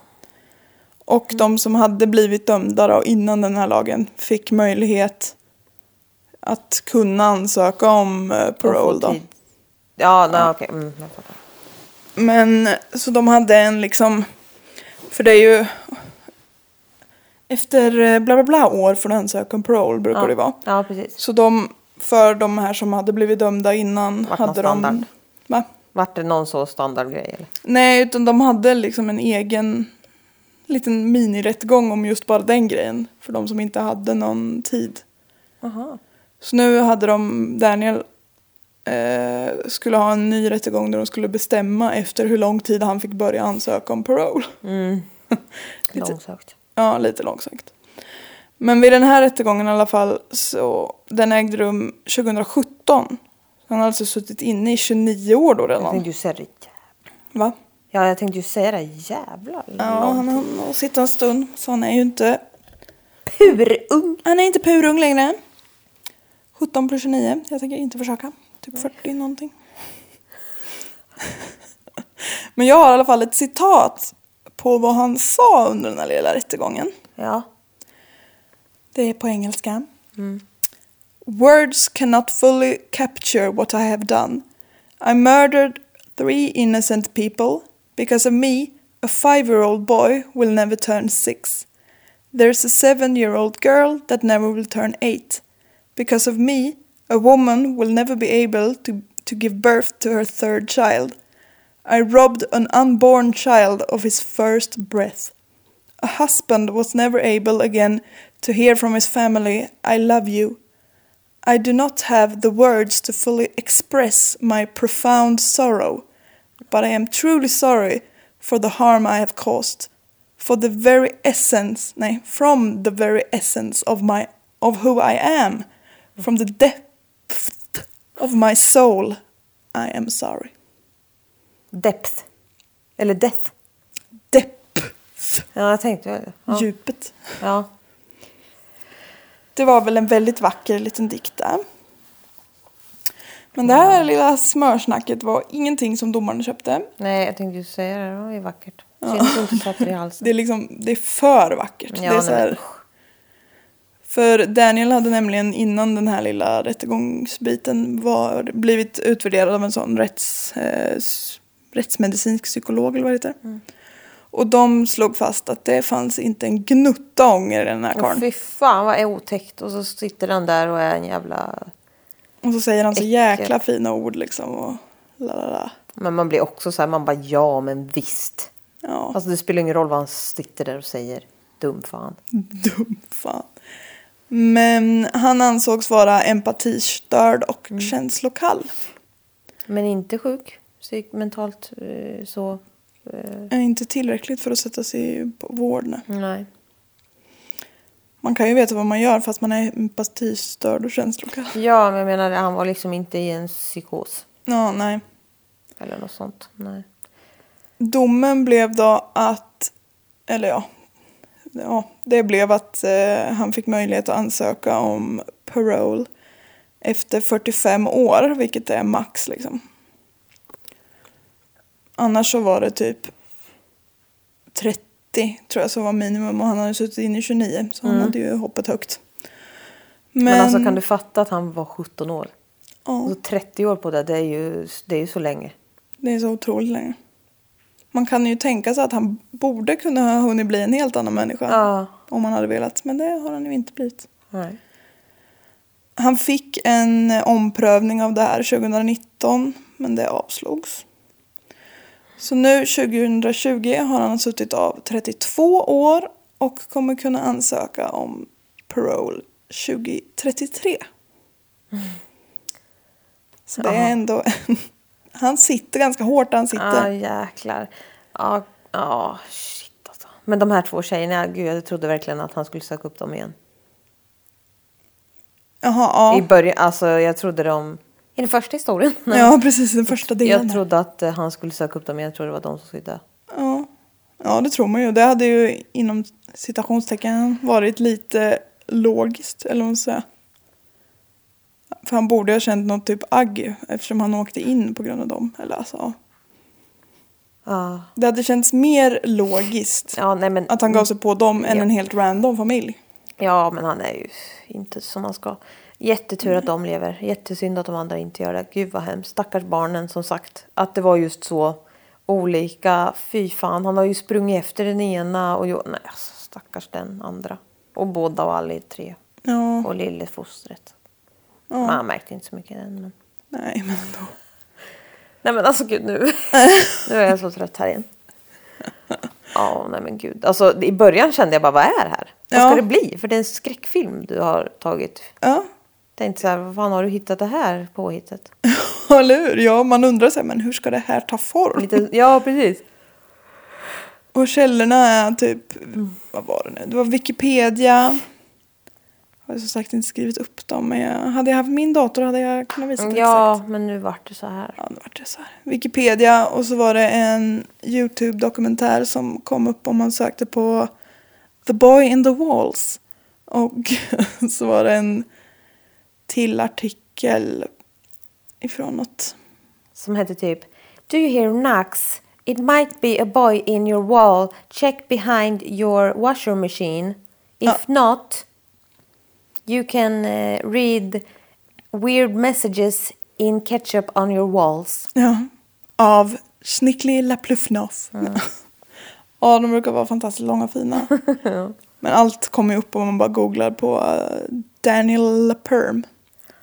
Speaker 1: Och
Speaker 2: Mm.
Speaker 1: de som hade blivit dömda då, innan den här lagen fick möjlighet att kunna ansöka om eh, parole. Då.
Speaker 2: Tid. Ja, nej, okej. Mm, jag fattar.
Speaker 1: Men så de hade en liksom, för det är ju efter eh, bla bla bla år får du ansöka om parole brukar
Speaker 2: ja.
Speaker 1: det vara.
Speaker 2: Ja, precis.
Speaker 1: Så de, för de här som hade blivit dömda innan
Speaker 2: Vart någon
Speaker 1: hade
Speaker 2: standard?
Speaker 1: de... Va?
Speaker 2: Vart det någon så standardgrej eller?
Speaker 1: Nej, utan de hade liksom en egen liten minirättegång om just bara den grejen. För de som inte hade någon tid.
Speaker 2: Aha.
Speaker 1: Så nu hade de, Daniel eh, skulle ha en ny rättegång där de skulle bestämma efter hur lång tid han fick börja ansöka om parole.
Speaker 2: Mm.
Speaker 1: Lite-
Speaker 2: Långsökt.
Speaker 1: Ja, lite långsökt. Men vid den här rättegången i alla fall, så, den ägde rum 2017. Han har alltså suttit inne i 29 år då
Speaker 2: Jag
Speaker 1: redan.
Speaker 2: tänkte ju säga det.
Speaker 1: Va?
Speaker 2: Ja, jag tänkte ju säga det jävla
Speaker 1: Ja,
Speaker 2: långt.
Speaker 1: han har nog sitta en stund, så han är ju inte...
Speaker 2: Purung!
Speaker 1: Han är inte purung längre. 17 plus 29, jag tänker inte försöka. Typ 40 någonting. Men jag har i alla fall ett citat på vad han sa under den här lilla rättegången.
Speaker 2: Ja.
Speaker 1: Det är på engelska. Mm. Words cannot fully capture what I have done. I murdered three innocent people. Because of me, a five-year-old boy will never turn six. There's a seven-year-old girl that never will turn eight. Because of me, a woman will never be able to, to give birth to her third child. I robbed an unborn child of his first breath. A husband was never able again to hear from his family, I love you. I do not have the words to fully express my profound sorrow, but I am truly sorry for the harm I have caused, for the very essence, nay, from the very essence of my of who I am, from the depth of my soul, I am sorry.
Speaker 2: Depth. Eller death.
Speaker 1: Depth,
Speaker 2: Ja, jag tänkte väl det. ja.
Speaker 1: djupet.
Speaker 2: ja.
Speaker 1: Det var väl en väldigt vacker liten dikt där. Men det här lilla smörsnacket var ingenting som domaren köpte.
Speaker 2: Nej, jag tänkte ju säga det. Det var ju vackert. Synd att du inte satte det i halsen.
Speaker 1: Det är liksom, det är för vackert.
Speaker 2: Ja,
Speaker 1: det är
Speaker 2: nej,
Speaker 1: så här,
Speaker 2: men usch.
Speaker 1: för Daniel hade nämligen innan den här lilla rättegångsbiten var, blivit utvärderad av en sån rätts, eh, s- rättsmedicinsk psykolog eller vad det heter.
Speaker 2: Mm.
Speaker 1: Och de slog fast att det fanns inte en gnutta ånger i den här
Speaker 2: Åh,
Speaker 1: karln.
Speaker 2: Fy fan vad otäckt. Och så sitter den där och är en jävla...
Speaker 1: Och så säger han så
Speaker 2: Äckel.
Speaker 1: jäkla fina ord liksom och la la la.
Speaker 2: Men man blir också så här, man bara ja men visst.
Speaker 1: Ja.
Speaker 2: Alltså det spelar ingen roll vad han sitter där och säger. Dum fan.
Speaker 1: Dum fan. Men han ansågs vara empatistörd och
Speaker 2: Mm.
Speaker 1: känslokall.
Speaker 2: Men inte sjuk. Psyk, mentalt eh, så. eh,
Speaker 1: Är inte tillräckligt för att sätta sig på vård. nej.
Speaker 2: Nej.
Speaker 1: Man kan ju veta vad man gör fast man är empatistörd och känslokall.
Speaker 2: Ja, men jag menar han var liksom inte i en psykos.
Speaker 1: Ja, nej.
Speaker 2: Eller något sånt. Nej.
Speaker 1: Domen blev då att, eller ja, ja det blev att eh, han fick möjlighet att ansöka om parole efter 45 år, vilket är max liksom. Annars så var det typ 30 tror jag så var minimum och han hade suttit inne i 29 så han hade ju hoppat högt. Men,
Speaker 2: Mm. Men, alltså kan du fatta att han var 17 år?
Speaker 1: ja.
Speaker 2: Alltså 30 år på det, det är ju, det är ju så länge.
Speaker 1: Det är så otroligt länge. Man kan ju tänka sig att han borde kunna ha hunnit bli en helt annan människa.
Speaker 2: Ja.
Speaker 1: Om han hade velat, men det har han ju inte blivit.
Speaker 2: Nej.
Speaker 1: Han fick en omprövning av det här 2019, men det avslogs. Så nu 2020 har han suttit av 32 år och kommer kunna ansöka om parole 2033. Så det är
Speaker 2: Jaha.
Speaker 1: ändå... Han sitter ganska hårt där han sitter.
Speaker 2: Ja, jäklar. Ja, ja, shit alltså. Men de här två tjejerna, gud jag trodde verkligen att han skulle söka upp dem igen.
Speaker 1: Jaha, ja.
Speaker 2: I början, alltså jag trodde de... I den första historien? Nej.
Speaker 1: Ja, precis. Den första delen.
Speaker 2: jag trodde att eh, han skulle söka upp dem, men jag trodde det var de som skulle dö.
Speaker 1: ja. ja, det tror man ju. Det hade ju inom citationstecken varit lite logiskt, eller vad man ska säga. För han borde ha känt något typ agg eftersom han åkte in på grund av dem. Eller alltså, ja.
Speaker 2: Ja,
Speaker 1: det hade känts mer logiskt
Speaker 2: ja nej men...
Speaker 1: att han gav sig på dem än
Speaker 2: Ja.
Speaker 1: en helt random familj.
Speaker 2: Ja, men han är ju inte som han ska. Jättetur att de lever. Jättesynd att de andra inte gör det. Gud vad hemskt. Stackars barnen som sagt. Att det var just så olika. Fy fan, han har ju sprungit efter den ena och jo, nej, alltså, stackars den andra. Och båda och alla i tre.
Speaker 1: Ja,
Speaker 2: Och lillefostret.
Speaker 1: Ja.
Speaker 2: Man märkte inte så mycket än. Men...
Speaker 1: nej men ändå.
Speaker 2: Nej men alltså gud nu. nu är jag så trött här igen. Ja, nej men gud. Alltså i början kände jag bara, vad är det här? Vad
Speaker 1: Ja.
Speaker 2: ska det bli? För det är en skräckfilm du har tagit.
Speaker 1: Ja,
Speaker 2: Tänkte så här, vad fan har du hittat det här påhittet?
Speaker 1: eller hur? Ja, man undrar så här, men hur ska det här ta form?
Speaker 2: Lite, ja, precis.
Speaker 1: Och källorna är typ, vad var det nu? Det var Wikipedia. Jag har som sagt inte skrivit upp dem men jag, hade jag haft min dator hade jag kunnat visa det
Speaker 2: Mm, Ja,
Speaker 1: exakt.
Speaker 2: men nu vart det så här.
Speaker 1: Ja, nu vart det så här. Wikipedia och så var det en Youtube-dokumentär som kom upp om man sökte på The Boy in the Walls. Och så var det en till artikel ifrån något.
Speaker 2: Som hette typ Do you hear knocks? It might be a boy in your wall. Check behind your washer machine. If not, you can eh, read weird messages in ketchup on your walls.
Speaker 1: Ja. Av Snickli Lapluffnoff. ja, de brukar vara fantastiskt långa och fina. Men allt kommer ju upp om man bara googlar på eh, Daniel Laperm.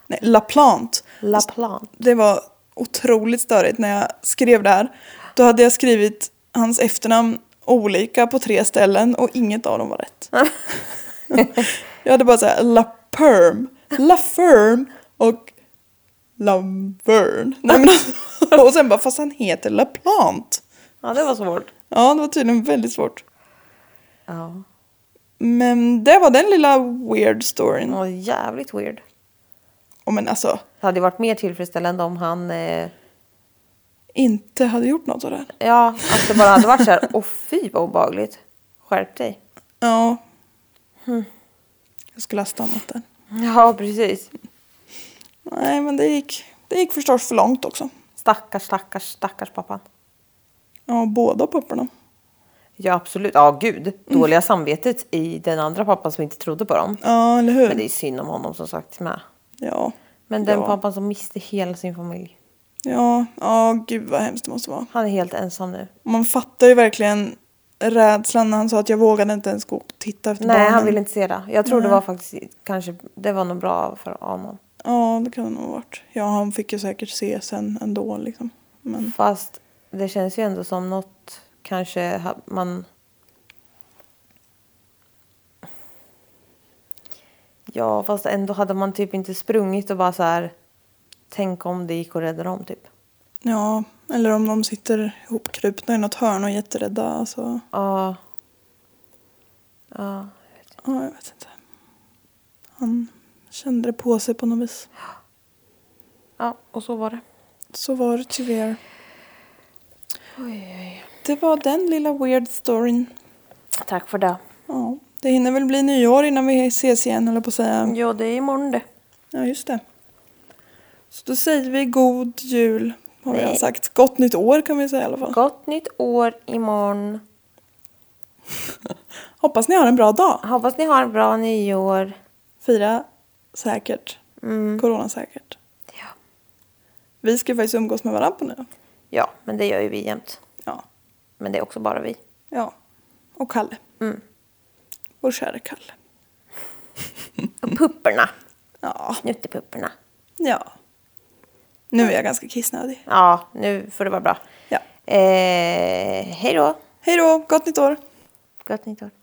Speaker 1: Nej, LaPlante.
Speaker 2: La plan.
Speaker 1: Det var otroligt störigt när jag skrev det här. Då hade jag skrivit hans efternamn olika på tre ställen och inget av dem var rätt. jag hade bara såhär LaPerm, LaFerm och Lavern. Nej, men alltså, och sen bara, fast han heter LaPlante.
Speaker 2: Ja, det var svårt.
Speaker 1: Ja, det var tydligen väldigt svårt.
Speaker 2: Ja,
Speaker 1: Men det var den lilla weird
Speaker 2: det
Speaker 1: storyn.
Speaker 2: var jävligt weird.
Speaker 1: Och men alltså,
Speaker 2: Det hade ju varit mer tillfredsställande om han eh,
Speaker 1: inte hade gjort något av det här.
Speaker 2: Ja, att det bara hade varit så här, åh fy vad obehagligt. Skärp dig.
Speaker 1: Ja. Jag skulle ha stannat där.
Speaker 2: Ja, precis.
Speaker 1: Nej, men det gick, det gick förstås för långt också.
Speaker 2: Stackars, stackars, stackars pappan.
Speaker 1: Ja, båda papporna.
Speaker 2: Ja, absolut. Ja, gud. Dåliga samvetet i den andra pappan som inte trodde på dem.
Speaker 1: Ja, eller hur?
Speaker 2: Men det är synd om honom som sagt med.
Speaker 1: Ja.
Speaker 2: Men den
Speaker 1: ja.
Speaker 2: pappan som miste hela sin familj.
Speaker 1: Ja, ja, gud vad hemskt det måste vara.
Speaker 2: Han är helt ensam nu.
Speaker 1: Man fattar ju verkligen rädslan när han sa att jag vågade inte ens gå och titta efter
Speaker 2: Nej,
Speaker 1: barnen.
Speaker 2: han ville inte se det. Jag tror det var faktiskt kanske, det var nog bra för honom.
Speaker 1: Ja, det kan det nog ha varit. Ja, han fick ju säkert se sen ändå liksom. Men
Speaker 2: Fast det känns ju ändå som något kanske ha- man... Ja, fast ändå hade man typ inte sprungit och bara så här... Tänk om det gick att rädda dem, typ.
Speaker 1: ja, eller om de sitter ihopkrupna i något hörn och är jätterädda. Alltså,
Speaker 2: Ja. Ja.
Speaker 1: ja, jag vet inte. Han kände det på sig på något vis.
Speaker 2: Ja, och så var det.
Speaker 1: Så var det tyvärr.
Speaker 2: Oj, oj.
Speaker 1: Det var den lilla weird storyn.
Speaker 2: Tack för det.
Speaker 1: Ja, det hinner väl bli nyår innan vi ses igen eller på att säga.
Speaker 2: Mm. Ja, det är imorgon det.
Speaker 1: Ja, just det. Så då säger vi god jul har vi redan sagt. Gott nytt år kan vi säga i alla fall.
Speaker 2: Gott nytt år imorgon.
Speaker 1: Hoppas ni har en bra dag.
Speaker 2: Hoppas ni har en bra nyår. Mm.
Speaker 1: Fira säkert. Coronasäkert.
Speaker 2: Ja.
Speaker 1: Vi ska faktiskt umgås med varandra på nu.
Speaker 2: ja, men det gör ju vi jämt.
Speaker 1: Ja.
Speaker 2: Men det är också bara vi.
Speaker 1: Ja. Och Kalle.
Speaker 2: Mm.
Speaker 1: Vår kära Kalle.
Speaker 2: Och pupporna.
Speaker 1: Ja.
Speaker 2: Snuttepupporna.
Speaker 1: Ja. Nu är jag ganska kissnödig.
Speaker 2: Ja, nu får det vara bra.
Speaker 1: Ja.
Speaker 2: Eh, hej då.
Speaker 1: Hej då, gott nytt år!
Speaker 2: Gott nytt år.